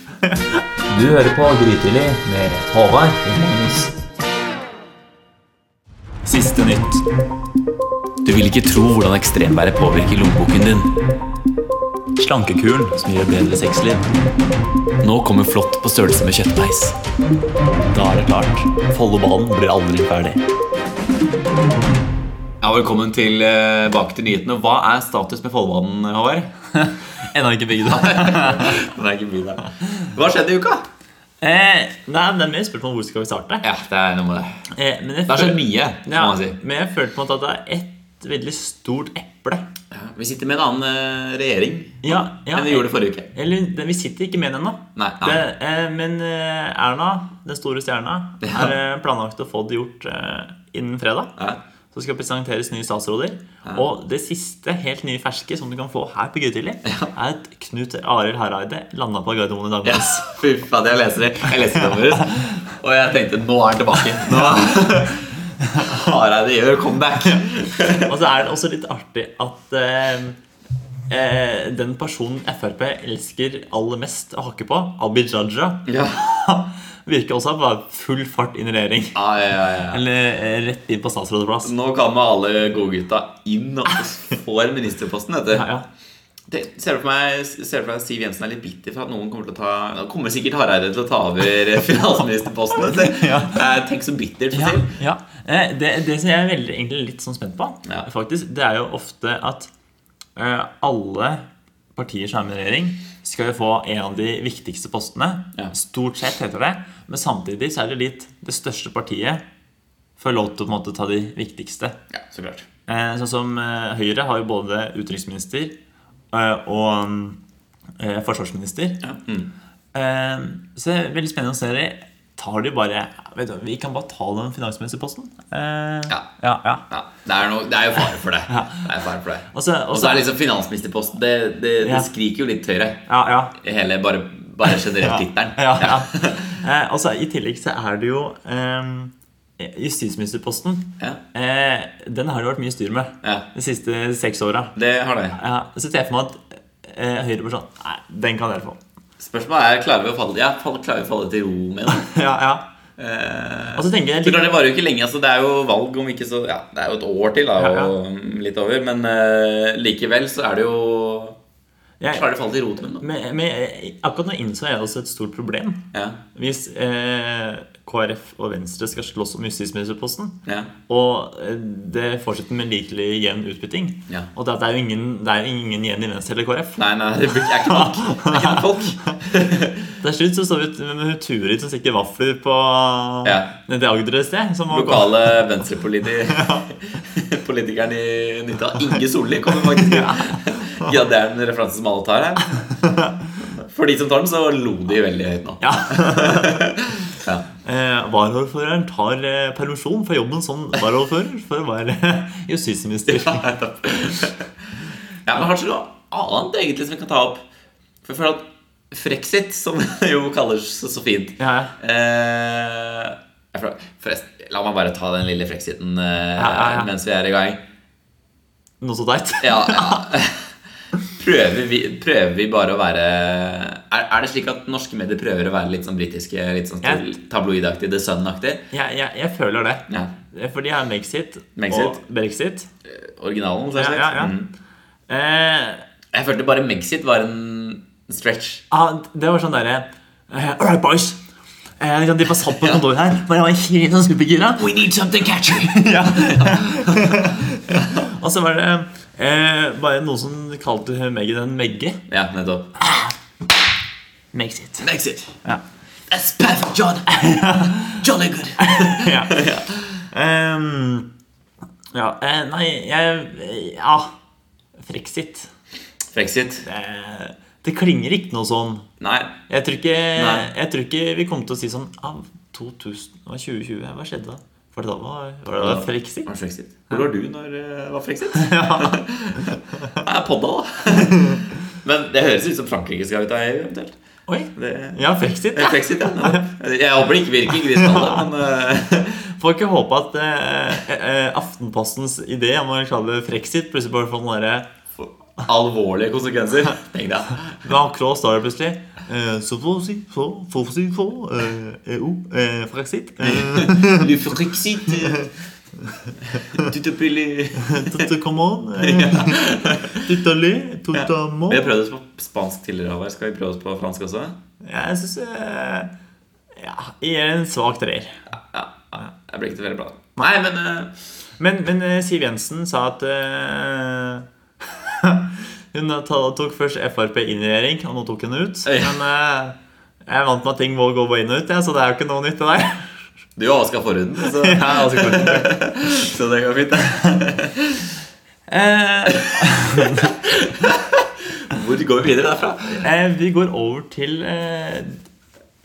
[SPEAKER 2] Du hører på Grytidlig med Håvard og Magnus. Siste nytt.
[SPEAKER 3] Du vil ikke tro hvordan ekstremværet påvirker lommeboken din.
[SPEAKER 2] Slankekuren som gir bedre sexliv.
[SPEAKER 3] Nå kommer flått på størrelse med kjøttdeis.
[SPEAKER 2] Da er det klart. Follobanen blir aldri ferdig.
[SPEAKER 1] Ja, Velkommen tilbake til nyhetene. Hva er status med Follbanen, Håvard?
[SPEAKER 2] Ennå ikke bygd. *laughs* eh,
[SPEAKER 1] Den er ikke mye der. Hva skjedde i uka?
[SPEAKER 2] Eh, nei, men det er mer spørsmål om hvor skal vi starte.
[SPEAKER 1] Ja, Det er noe med det.
[SPEAKER 2] Eh, men
[SPEAKER 1] Det
[SPEAKER 2] jeg
[SPEAKER 1] har skjedd
[SPEAKER 2] føl-
[SPEAKER 1] mye. kan
[SPEAKER 2] ja,
[SPEAKER 1] man si.
[SPEAKER 2] Men jeg følte på en måte at det er ett veldig stort eple.
[SPEAKER 1] Vi sitter med en annen eh, regjering
[SPEAKER 2] Ja, ja,
[SPEAKER 1] enn vi gjorde forrige uke.
[SPEAKER 2] Eller, det- vi sitter ikke med den ennå.
[SPEAKER 1] Nei, nei.
[SPEAKER 2] Det, eh, men eh, Erna, den store stjerna,
[SPEAKER 1] Ja.
[SPEAKER 2] er eh, planlagt å få det gjort eh, innen fredag.
[SPEAKER 1] Ja.
[SPEAKER 2] Så skal presenteres nye statsråder. Og det siste helt nye ferske som du kan få her på Grytidlig, er at Knut Arild Hareide landa på Gardermoen i dag morges.
[SPEAKER 1] Yes. Fy faen, jeg leser det. Jeg leser det deres. Og jeg tenkte nå er han tilbake. Nå *laughs* Hareide gjør comeback.
[SPEAKER 2] Og så er det også litt artig at eh, eh, den personen Frp elsker aller mest å hakke på, Abid Raja, *laughs*
[SPEAKER 1] Ja.
[SPEAKER 2] virker også å være full fart inn i regjering.
[SPEAKER 1] Ja, ja, ja.
[SPEAKER 2] Eller eh, rett inn på statsrådsplass.
[SPEAKER 1] Nå kommer alle godgutta inn og får ministerposten. Vet du.
[SPEAKER 2] Ja, ja.
[SPEAKER 1] Det, ser du for meg, ser du for meg at Siv Jensen er litt bitter for at noen kommer til å ta Nå kommer sikkert Hareide til å ta
[SPEAKER 2] *laughs*
[SPEAKER 1] over finansministerposten. vet du.
[SPEAKER 2] Ja.
[SPEAKER 1] Eh, Tenk så bittert for
[SPEAKER 2] Ja,
[SPEAKER 1] Siv.
[SPEAKER 2] ja. Eh, Det, det som jeg er veldig, egentlig litt sånn spent på,
[SPEAKER 1] Ja.
[SPEAKER 2] faktisk, det er jo ofte at eh, alle partier som er med i regjering, skal jo få en av de viktigste postene.
[SPEAKER 1] Ja.
[SPEAKER 2] Stort sett heter det. Men samtidig så er det litt det største partiet får lov til å på en måte ta de viktigste.
[SPEAKER 1] Ja, så klart.
[SPEAKER 2] Eh, Sånn som eh, Høyre har jo både utenriksminister eh, og eh, forsvarsminister.
[SPEAKER 1] Mm.
[SPEAKER 2] Eh, Så det er veldig spennende å se det. Tar de bare vet du, hva, Vi kan bare ta den finansministerposten. Eh,
[SPEAKER 1] Ja.
[SPEAKER 2] ja, ja.
[SPEAKER 1] Ja, det, er noe- det er jo fare for det. Det er fare for det.
[SPEAKER 2] Og så
[SPEAKER 1] Og
[SPEAKER 2] og
[SPEAKER 1] så
[SPEAKER 2] så-
[SPEAKER 1] er liksom finansministerposten Det, det, det
[SPEAKER 2] Ja.
[SPEAKER 1] skriker jo litt høyere.
[SPEAKER 2] ja, ja.
[SPEAKER 1] Hele bare, bare generelt tittelen.
[SPEAKER 2] ja, ja. *laughs* Eh, Og så i tillegg så er det jo eh, justisministerposten.
[SPEAKER 1] Ja. *laughs*
[SPEAKER 2] Eh, Den har det vært mye styr med
[SPEAKER 1] Ja.
[SPEAKER 2] de siste seks åra.
[SPEAKER 1] Det har det.
[SPEAKER 2] Ja, så ser jeg for meg at eh, Høyre bare sånn Nei, den kan dere få.
[SPEAKER 1] Spørsmålet er klarer vi å falle, ja, fall- klarer vi å falle til ro med det.
[SPEAKER 2] Ja, ja. og så tenker jeg
[SPEAKER 1] Eh, Så klart Det varer jo ikke lenge. altså Det er jo valg om ikke så Ja, det er jo et år til, da,
[SPEAKER 2] Ja, ja.
[SPEAKER 1] og mm, litt over. Men eh, likevel så er det jo
[SPEAKER 2] jeg,
[SPEAKER 1] Klarer de å falle til ro til det?
[SPEAKER 2] men, men jeg- akkurat nå innså jeg også et stort problem.
[SPEAKER 1] Ja.
[SPEAKER 2] Hvis eh, KrF og Venstre skal slåss om justisministerposten,
[SPEAKER 1] Ja.
[SPEAKER 2] og eh, det fortsetter med likelig jevn utbytting
[SPEAKER 1] Ja.
[SPEAKER 2] Og det, det, er jo ingen, det er jo ingen igjen i Venstre eller KrF.
[SPEAKER 1] Nei, nei, det blir- er ikke nok. Det er ikke nok folk.
[SPEAKER 2] Til slutt så står vi ut med hun Turid som stikker vafler på
[SPEAKER 1] Ja.
[SPEAKER 2] nede i Agder et sted. Som må gå-
[SPEAKER 1] Lokale *laughs* venstrepolitikeren i Nytta, Inge Solli, kommer faktisk. Ja, det er en referanse som alle tar her. For de som tar den, så lo de veldig høyt nå.
[SPEAKER 2] Ja.
[SPEAKER 1] Ja.
[SPEAKER 2] Eh, varaordføreren tar eh, permisjon fra jobben som varaordfører for å være *laughs* justisminister.
[SPEAKER 1] Ja, men har dere noe annet egentlig som vi kan ta opp? For jeg føler at frexit, som det jo kalles så, så fint
[SPEAKER 2] Ja, ja.
[SPEAKER 1] eh, jeg føler, Forresten, la meg bare ta den lille frexiten eh,
[SPEAKER 2] ja, ja.
[SPEAKER 1] mens vi er i gang.
[SPEAKER 2] Noe så teit.
[SPEAKER 1] Ja, ja. *laughs* Prøver vi, prøver vi bare å være er, er det slik at norske medier prøver å være litt sånn britiske, litt sånn
[SPEAKER 2] Ja.
[SPEAKER 1] tabloidaktig, The Sun-aktig?
[SPEAKER 2] Jeg, jeg, jeg føler det.
[SPEAKER 1] Ja.
[SPEAKER 2] For de har Megxit og
[SPEAKER 1] Megxit.
[SPEAKER 2] Brexit.
[SPEAKER 1] Originalen, så
[SPEAKER 2] Ja,
[SPEAKER 1] er det
[SPEAKER 2] ja, ja.
[SPEAKER 1] Mm.
[SPEAKER 2] Eh,
[SPEAKER 1] Jeg følte bare Megxit var en stretch.
[SPEAKER 2] ah, det var sånn derre eh, All right, boys. Eh, de var satt på kontoret her, men jeg var helt sånn supergira.
[SPEAKER 1] We need something *laughs* catchy!
[SPEAKER 2] Ja. og så var det eh, bare noen som kalte hun Meggie en Megge.
[SPEAKER 1] Ja, nettopp.
[SPEAKER 2] Makes it.
[SPEAKER 1] Makes it.
[SPEAKER 2] Ja.
[SPEAKER 1] That's perfect, *laughs* John. Jolly good.
[SPEAKER 2] ja. Ehm, ja. eh, nei, jeg Ja. Frexit.
[SPEAKER 1] Frexit.
[SPEAKER 2] Eh, det klinger ikke noe sånn.
[SPEAKER 1] Nei.
[SPEAKER 2] Jeg tror ikke,
[SPEAKER 1] Nei.
[SPEAKER 2] jeg tror ikke vi kommer til å si sånn Av 2000, hva, 2020, hva skjedde da? For da var, var det da frexit?
[SPEAKER 1] Var det Frexit? Hvor var du når det var *laughs* frexit? ja. Jeg podda, *laughs* da. Men det høres ut som Frankrike skal ut av EU, eventuelt.
[SPEAKER 2] Oi!
[SPEAKER 1] Det...
[SPEAKER 2] Ja, frexit.
[SPEAKER 1] Eh,
[SPEAKER 2] Ja.
[SPEAKER 1] Frexit, ja. Jeg håper det ikke virker griskalla,
[SPEAKER 2] *laughs*
[SPEAKER 1] men eh,
[SPEAKER 2] Får ikke håpe at eh, eh, Aftenpostens idé om å kalle det frexit plutselig bare får den derre
[SPEAKER 1] alvorlige konsekvenser. Tenk deg.
[SPEAKER 2] Macron står der plutselig. Eh, så får vi si, så får vi si, så, eh, EU, eh, frexit. Eh,
[SPEAKER 1] Le Frexit. eh, Tout est pile.
[SPEAKER 2] tout come on. Eh, tout allé, tout amant.
[SPEAKER 1] Vi har prøvd oss på spansk tidligere. Håvard. Skal vi prøve oss på fransk også?
[SPEAKER 2] Jeg syns eh, Ja, jeg gir en svak treer.
[SPEAKER 1] Ja. Jeg ble ikke så veldig bra. Nei, men eh,
[SPEAKER 2] Men, men eh, Siv Jensen sa at eh, *laughs* Hun ta- tok først Frp inn i regjering, og nå tok hun det ut.
[SPEAKER 1] Ja.
[SPEAKER 2] Men eh, jeg er vant med at ting må gå både inn og ut, jeg, så det er jo ikke noe nytt. det der *laughs*
[SPEAKER 1] du og Oskar Forhuden, så, *laughs* så det går fint. det.
[SPEAKER 2] eh,
[SPEAKER 1] Hvor går vi videre derfra?
[SPEAKER 2] eh, Vi går over til eh,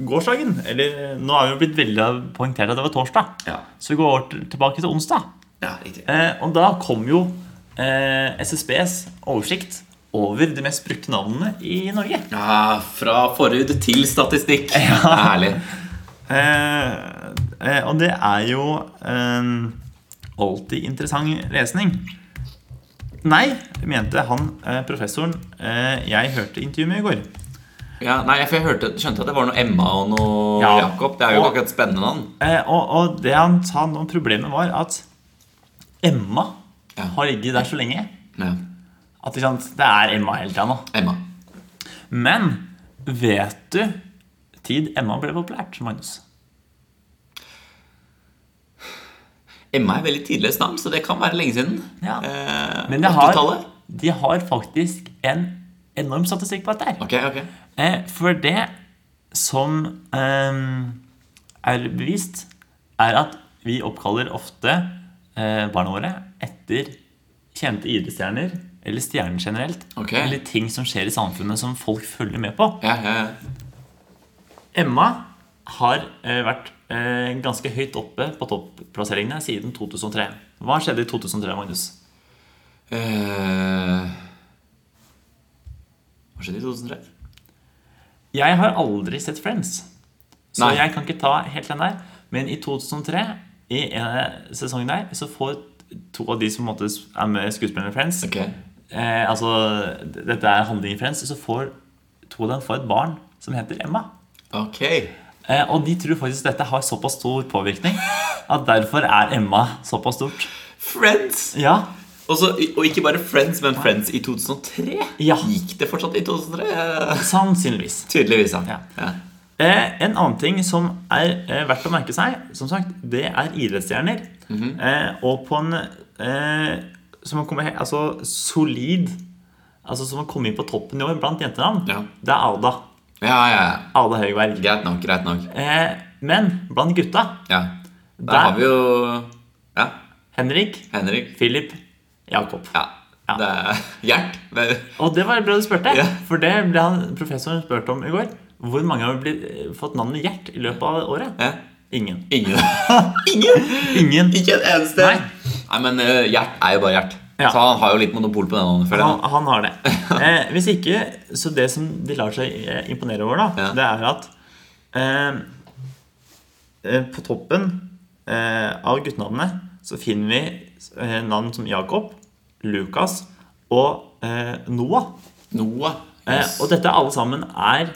[SPEAKER 2] gårsdagen. Eller eh, nå har vi jo blitt veldig poengtert at det var torsdag.
[SPEAKER 1] Ja,
[SPEAKER 2] Så vi går over til, tilbake til onsdag.
[SPEAKER 1] ja riktig.
[SPEAKER 2] Eh, og da kom jo eh, SSBs oversikt over de mest brukte navnene i Norge.
[SPEAKER 1] Ja, fra forhud til
[SPEAKER 2] *laughs*
[SPEAKER 1] statistikk. Ja. Herlig.
[SPEAKER 2] Eh, eh, og det er jo eh, alltid interessant lesning. Nei, mente han eh, professoren eh, jeg hørte intervjuet med i går.
[SPEAKER 1] Ja, nei, for jeg hørte, skjønte at det var noe Emma og noe
[SPEAKER 2] Ja.
[SPEAKER 1] Jakob. Det er jo
[SPEAKER 2] Og-
[SPEAKER 1] ikke akkurat spennende navn.
[SPEAKER 2] Eh, og, og det han sa om problemet, var at Emma
[SPEAKER 1] Ja.
[SPEAKER 2] har ligget der så lenge
[SPEAKER 1] Ja.
[SPEAKER 2] at ikke sant, det er Emma hele tida nå.
[SPEAKER 1] Emma.
[SPEAKER 2] Men vet du tid Emma ble populært, Magnus?
[SPEAKER 1] Emma er veldig tidløst navn, så det kan være lenge siden.
[SPEAKER 2] Ja.
[SPEAKER 1] Eh,
[SPEAKER 2] Men de har,
[SPEAKER 1] 80-tallet?
[SPEAKER 2] de har faktisk en enorm statistikk på dette her.
[SPEAKER 1] Ok, ok.
[SPEAKER 2] Eh, for det som ehm, er bevist, er at vi oppkaller ofte eh, barna våre etter kjente idrettsstjerner, eller stjerner generelt,
[SPEAKER 1] Ok.
[SPEAKER 2] eller ting som skjer i samfunnet som folk følger med på.
[SPEAKER 1] Ja, ja, ja.
[SPEAKER 2] Emma har eh, vært eh, ganske høyt oppe på topplasseringene siden 2003. Hva skjedde i 2003, Magnus?
[SPEAKER 1] Eh, Hva skjedde i 2003?
[SPEAKER 2] Jeg har aldri sett Friends, så
[SPEAKER 1] Nei.
[SPEAKER 2] jeg kan ikke ta helt den der. Men i 2003, i en sesong der, så får to av de som på en måte er med skuespillerne i Friends
[SPEAKER 1] Ok.
[SPEAKER 2] eh, Altså, dette er handling i Friends, så får to av dem får et barn som heter Emma.
[SPEAKER 1] Ok.
[SPEAKER 2] Eh, og de tror faktisk dette har såpass stor påvirkning at derfor er Emma såpass stort.
[SPEAKER 1] Friends!
[SPEAKER 2] Ja,
[SPEAKER 1] Og så- og ikke bare Friends, men Friends i 2003.
[SPEAKER 2] Ja.
[SPEAKER 1] Gikk det fortsatt i 2003? Eh,
[SPEAKER 2] sannsynligvis.
[SPEAKER 1] *laughs* Tydeligvis, ja.
[SPEAKER 2] Ja.
[SPEAKER 1] ja.
[SPEAKER 2] Eh, en annen ting som er eh, verdt å merke seg, som sagt, det er idrettsstjerner.
[SPEAKER 1] Mhm.
[SPEAKER 2] eh, og på en eh, Som har kommet he- altså, solid Altså som har kommet inn på toppen i år blant jentenavn,
[SPEAKER 1] Ja.
[SPEAKER 2] det er Ada.
[SPEAKER 1] Ja, ja, ja.
[SPEAKER 2] Ada Høgberg.
[SPEAKER 1] Greit nok, greit nok.
[SPEAKER 2] Eh, men blant gutta
[SPEAKER 1] Ja. Der,
[SPEAKER 2] Der.
[SPEAKER 1] har vi jo Ja,
[SPEAKER 2] Henrik,
[SPEAKER 1] Henrik.
[SPEAKER 2] Philip, Jakob.
[SPEAKER 1] Ja.
[SPEAKER 2] Ja.
[SPEAKER 1] Det er *laughs* Gjert. men-
[SPEAKER 2] Og det var bra du spurte,
[SPEAKER 1] Ja.
[SPEAKER 2] for det ble han professoren spurt om i går. Hvor mange har blitt, fått navnet Gjert i løpet av året?
[SPEAKER 1] Ja.
[SPEAKER 2] Ingen.
[SPEAKER 1] Ingen. Ingen! *laughs*
[SPEAKER 2] Ingen.
[SPEAKER 1] Ikke en eneste.
[SPEAKER 2] Nei.
[SPEAKER 1] Nei, men eh, Gjert er jo bare Gjert.
[SPEAKER 2] Ja.
[SPEAKER 1] Så han har jo litt monopol på den. hånden, føler jeg.
[SPEAKER 2] Han, han
[SPEAKER 1] *laughs*
[SPEAKER 2] har det. Eh, hvis ikke, så det som de lar seg eh, imponere over, da,
[SPEAKER 1] Ja.
[SPEAKER 2] det er at eh, eh, på toppen eh, av guttenavnene så finner vi eh, navn som Jakob, Lukas og eh, Noah.
[SPEAKER 1] Noah.
[SPEAKER 2] Eh,
[SPEAKER 1] Yes.
[SPEAKER 2] Og dette alle sammen er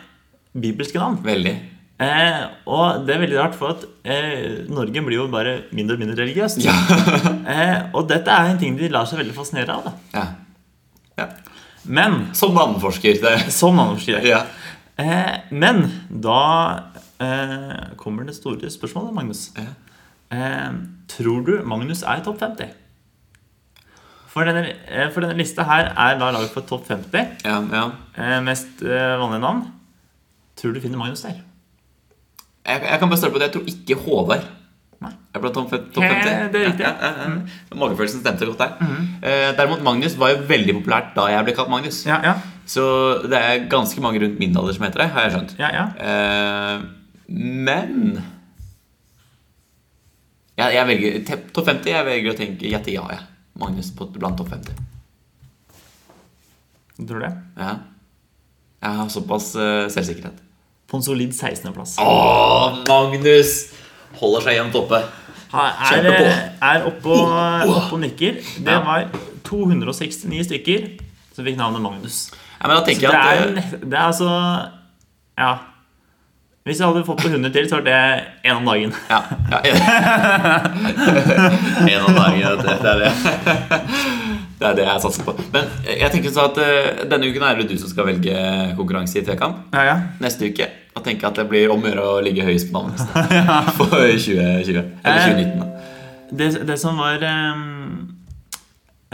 [SPEAKER 2] bibelske navn.
[SPEAKER 1] Veldig. *laughs*
[SPEAKER 2] Eh, og det er veldig rart, for at eh, Norge blir jo bare mindre og mindre religiøst.
[SPEAKER 1] Ja.
[SPEAKER 2] Eh, og dette er en ting de lar seg veldig fascinere av. Da.
[SPEAKER 1] ja.
[SPEAKER 2] Men
[SPEAKER 1] Som navneforsker. Det.
[SPEAKER 2] som navneforskriver
[SPEAKER 1] *laughs* Ja.
[SPEAKER 2] Eh, men da eh, kommer det store spørsmålet, Magnus.
[SPEAKER 1] Ja.
[SPEAKER 2] Eh, tror du Magnus er i topp 50? For denne, eh, for denne lista her er da laget for topp 50
[SPEAKER 1] Ja, ja.
[SPEAKER 2] eh, mest eh, vanlige navn. Tror du finner Magnus der?
[SPEAKER 1] Jeg, jeg kan bare starte på det. Jeg tror ikke Håvard
[SPEAKER 2] Nei.
[SPEAKER 1] er blant topp fem- topp Eh,
[SPEAKER 2] Ja,
[SPEAKER 1] 50.
[SPEAKER 2] Eh, det Mhm. er riktig.
[SPEAKER 1] Ja, ja, ja. Magefølelsen stemte godt der. Eh, Derimot Magnus var jo veldig populært da jeg ble kalt Magnus.
[SPEAKER 2] Ja, ja.
[SPEAKER 1] Så det er ganske mange rundt min alder som heter det, har jeg skjønt.
[SPEAKER 2] Ja, ja.
[SPEAKER 1] Eh, men ja, jeg velger te- topp 50. Jeg velger å tenke gjette ja, jeg. Magnus på, blant topp 50.
[SPEAKER 2] Tror du det?
[SPEAKER 1] Ja. Jeg har såpass eh, selvsikkerhet.
[SPEAKER 2] På en solid 16.-plass.
[SPEAKER 1] Å, Magnus holder seg jevnt oppe.
[SPEAKER 2] Er, eh,
[SPEAKER 1] kjempe på. Oh,
[SPEAKER 2] er oppe og, opp og nikker. Det
[SPEAKER 1] Ja.
[SPEAKER 2] var 269 stykker som fikk navnet Magnus.
[SPEAKER 1] Ja, men da
[SPEAKER 2] Så
[SPEAKER 1] tenker
[SPEAKER 2] det
[SPEAKER 1] jeg at
[SPEAKER 2] er,
[SPEAKER 1] eh,
[SPEAKER 2] nest- det er altså Ja. Hvis jeg hadde fått på 100 til, så var det én om dagen.
[SPEAKER 1] Ja. ja. *laughs* en av dagene, vet du. Det er det. Det er det jeg satser på. Men jeg tenker så at eh, denne uken er det du som skal velge konkurranse i trekant.
[SPEAKER 2] *laughs* Ja, ja.
[SPEAKER 1] Neste uke da tenker jeg at det blir om å gjøre å ligge høyest på navnet
[SPEAKER 2] *laughs*
[SPEAKER 1] neste. For 2020.
[SPEAKER 2] Eh.
[SPEAKER 1] Eller 2019. da.
[SPEAKER 2] Det, det som var eh,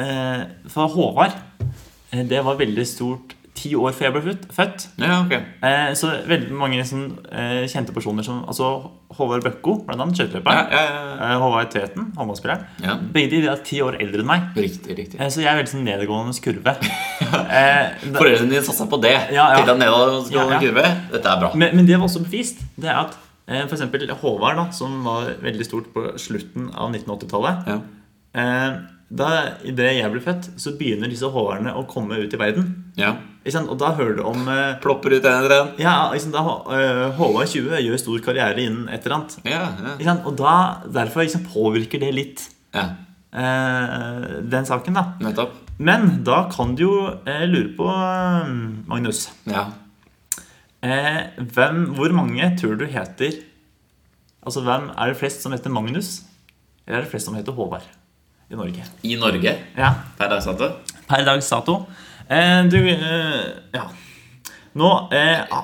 [SPEAKER 2] eh, For Håvard eh, Det var veldig stort ti år før jeg ble født. født.
[SPEAKER 1] Ja, ok.
[SPEAKER 2] Eh, så veldig mange sånn, eh, kjente personer som altså Håvard Bøkko, blant annet
[SPEAKER 1] Ja,
[SPEAKER 2] skøyteløperen.
[SPEAKER 1] ja, ja.
[SPEAKER 2] Eh, Håvard Tveten, håndballspilleren.
[SPEAKER 1] Ja.
[SPEAKER 2] Begge de er ti år eldre enn meg.
[SPEAKER 1] Riktig, riktig.
[SPEAKER 2] Eh, så jeg er veldig sånn nedadgående *laughs* kurve. eh, da,
[SPEAKER 1] *laughs* Foreldrene dine satsa på det.
[SPEAKER 2] Ja, ja.
[SPEAKER 1] Tenkte at nedover skal
[SPEAKER 2] Ja, ja.
[SPEAKER 1] kurve. Dette er bra.
[SPEAKER 2] men, men det var også bevist. Det er at eh, for eksempel Håvard, da, som var veldig stort på slutten av 1980-tallet
[SPEAKER 1] Ja.
[SPEAKER 2] eh, Da Idet jeg ble født, så begynner disse Håvardene å komme ut i verden.
[SPEAKER 1] ja.
[SPEAKER 2] Ikke sant? Og da hører du om eh,
[SPEAKER 1] Plopper ut en etter en.
[SPEAKER 2] ja, ikke sant, da, eh, Håvard 20 gjør stor karriere innen et eller annet.
[SPEAKER 1] Ja, ja.
[SPEAKER 2] Ikke sant? Og da, derfor ikke sant, påvirker det litt
[SPEAKER 1] ja.
[SPEAKER 2] eh, den saken, da.
[SPEAKER 1] Nettopp.
[SPEAKER 2] Men da kan du jo eh, lure på, eh, Magnus
[SPEAKER 1] Ja.
[SPEAKER 2] eh, hvem, Hvor mange tror du heter Altså, hvem er det flest som heter Magnus? Eller er det flest som heter Håvard i Norge?
[SPEAKER 1] I Norge
[SPEAKER 2] Ja,
[SPEAKER 1] per dags dato.
[SPEAKER 2] Per dags dato. Eh, du eh, Ja. Nå eh, ah,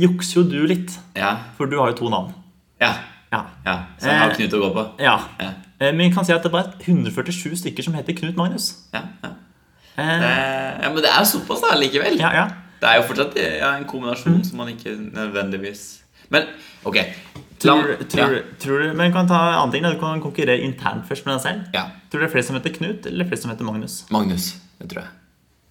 [SPEAKER 2] jukser jo du litt,
[SPEAKER 1] Ja.
[SPEAKER 2] for du har jo to navn.
[SPEAKER 1] Ja.
[SPEAKER 2] Ja.
[SPEAKER 1] ja. Så jeg har
[SPEAKER 2] Eh.
[SPEAKER 1] Knut å gå på.
[SPEAKER 2] ja.
[SPEAKER 1] Ja.
[SPEAKER 2] Eh, men vi kan si at det er bare 147 stykker som heter Knut Magnus.
[SPEAKER 1] Ja, ja.
[SPEAKER 2] Eh,
[SPEAKER 1] Eh, ja, men det er jo såpass da, likevel.
[SPEAKER 2] ja, ja.
[SPEAKER 1] Det er jo fortsatt eh, ja, en kombinasjon
[SPEAKER 2] Mhm.
[SPEAKER 1] som man ikke nødvendigvis Men ok. La-
[SPEAKER 2] Tror, tror, tror du, men du kan ta annen ting da. Du kan konkurrere internt først med deg selv.
[SPEAKER 1] Ja. ja.
[SPEAKER 2] Tror du det er flere som heter Knut, eller flere som heter Magnus?
[SPEAKER 1] Magnus. Det tror jeg.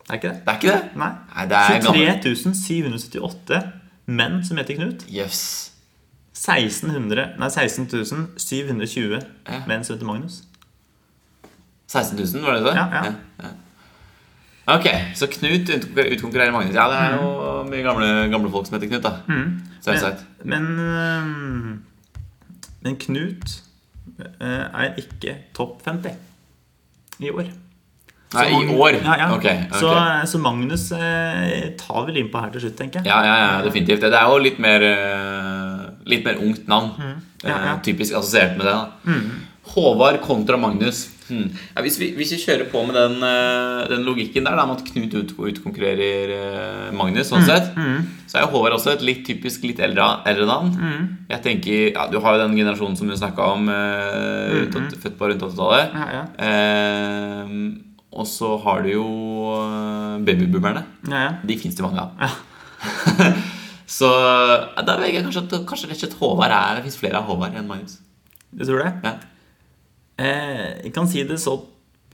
[SPEAKER 2] Det er ikke det?
[SPEAKER 1] Det er ikke det?
[SPEAKER 2] Nei.
[SPEAKER 1] Nei, det er gammel.
[SPEAKER 2] 23 778 menn som heter Knut.
[SPEAKER 1] Jøss.
[SPEAKER 2] 1600, nei, 16 720
[SPEAKER 1] Ja.
[SPEAKER 2] menn som heter Magnus.
[SPEAKER 1] 16 000, var det det?
[SPEAKER 2] Ja, ja.
[SPEAKER 1] ja. Ok, så Knut utkonkur- utkonkurrerer Magnus. Ja, det er jo
[SPEAKER 2] Mhm.
[SPEAKER 1] mye gamle, gamle folk som heter Knut, da. Selvsagt.
[SPEAKER 2] Men, øhm, men Knut øh, er ikke topp 50 i år.
[SPEAKER 1] Nei,
[SPEAKER 2] Så
[SPEAKER 1] i
[SPEAKER 2] Magn-
[SPEAKER 1] år.
[SPEAKER 2] Ja, ja.
[SPEAKER 1] Ok. ok.
[SPEAKER 2] Så, eh, så Magnus øh, tar vel innpå her til slutt, tenker jeg.
[SPEAKER 1] Ja, ja, ja, definitivt. Det er jo litt mer, eh, litt mer ungt navn.
[SPEAKER 2] Mm. Ja, ja. Mm.
[SPEAKER 1] Eh, typisk assosiert med det. da Håvard kontra Magnus. Hmm. Ja, hvis, vi, hvis vi kjører på med den, eh, den logikken der, da, med at Knut ut, utkonkurrerer eh, Magnus,
[SPEAKER 2] Mm.
[SPEAKER 1] sånn sett, så er jo Håvard også et litt typisk litt eldre, eldre navn.
[SPEAKER 2] Mm.
[SPEAKER 1] Jeg tenker, ja, Du har jo den generasjonen som du snakka om, eh, rundt, åt- født på rundt 80-tallet.
[SPEAKER 2] Mm, Ja, ja.
[SPEAKER 1] Eh, og så har du jo eh, babyboomerne.
[SPEAKER 2] Ja, ja.
[SPEAKER 1] De fins det mange av. *laughs* så ja, da velger jeg kanskje at kanskje rett og slett Håvard er Det fins flere av Håvard enn Magnus.
[SPEAKER 2] Du tror det?
[SPEAKER 1] Ja.
[SPEAKER 2] Eh, jeg kan si det sånn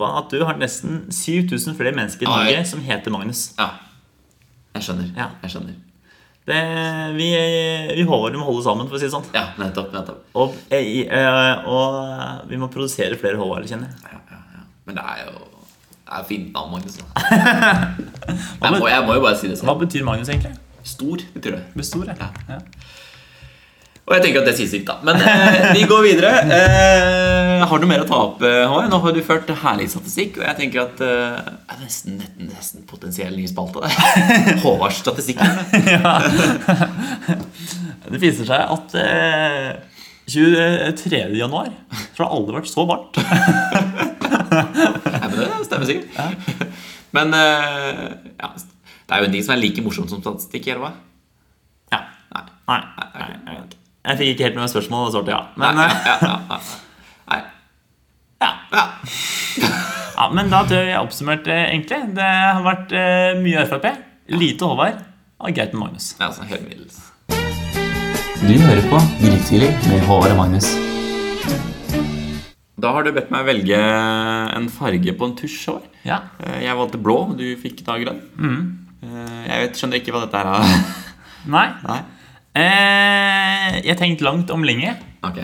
[SPEAKER 2] at du har nesten 7000 flere mennesker i
[SPEAKER 1] Oi.
[SPEAKER 2] Norge som heter Magnus.
[SPEAKER 1] ja. Jeg skjønner.
[SPEAKER 2] Ja.
[SPEAKER 1] Jeg skjønner.
[SPEAKER 2] Det, vi, vi håper vi må holde sammen, for å si det sånn.
[SPEAKER 1] Ja, nettopp. nettopp.
[SPEAKER 2] Og, eh, i- eh, og vi må produsere flere HR, kjenner jeg.
[SPEAKER 1] Ja, ja, ja. Men det er jo det er fint navn, Magnus. da. jeg, må, jeg må jo bare si det sånn.
[SPEAKER 2] Hva betyr Magnus egentlig?
[SPEAKER 1] Stor, betyr det.
[SPEAKER 2] Bestor, ja. ja.
[SPEAKER 1] Og jeg tenker at det sier sitt, da. Men eh, vi går videre. Eh, har du mer å ta opp, eh, Håvard? Nå har du ført herlig statistikk, og jeg tenker at eh, det er nesten, nesten, nesten potensiell ny spalte. det. *laughs* Håvards statistikk. er det.
[SPEAKER 2] Det viser seg at eh, 23. januar så har det aldri vært så varmt.
[SPEAKER 1] Ja, men det stemmer sikkert. *laughs* Men eh, ja, det er jo ingenting som er like morsomt som statistikk, eller hva?
[SPEAKER 2] Ja.
[SPEAKER 1] Nei.
[SPEAKER 2] Nei.
[SPEAKER 1] Nei, ok.
[SPEAKER 2] Nei. Jeg fikk ikke helt med meg spørsmålet, og svarte ja. Men,
[SPEAKER 1] nei,
[SPEAKER 2] eh,
[SPEAKER 1] ja, ja, ja, ja. nei. Ja, ja.
[SPEAKER 2] Ja, men da tror jeg jeg oppsummerte egentlig. Det eh, har vært eh, mye Frp, lite Håvard og greit med Magnus.
[SPEAKER 1] ja sånn helt middels.
[SPEAKER 3] Du hører på Grytidlig med Håvard og Magnus.
[SPEAKER 1] Da har du bedt meg velge en farge på en tusj. Håvard.
[SPEAKER 2] Ja.
[SPEAKER 1] Eh, Jeg valgte blå, du fikk da grønn.
[SPEAKER 2] Mm.
[SPEAKER 1] Eh, Jeg vet, skjønner ikke hva dette her er. *laughs*
[SPEAKER 2] Nei.
[SPEAKER 1] Nei?
[SPEAKER 2] Eh, jeg har tenkt langt om lenge.
[SPEAKER 1] Ok.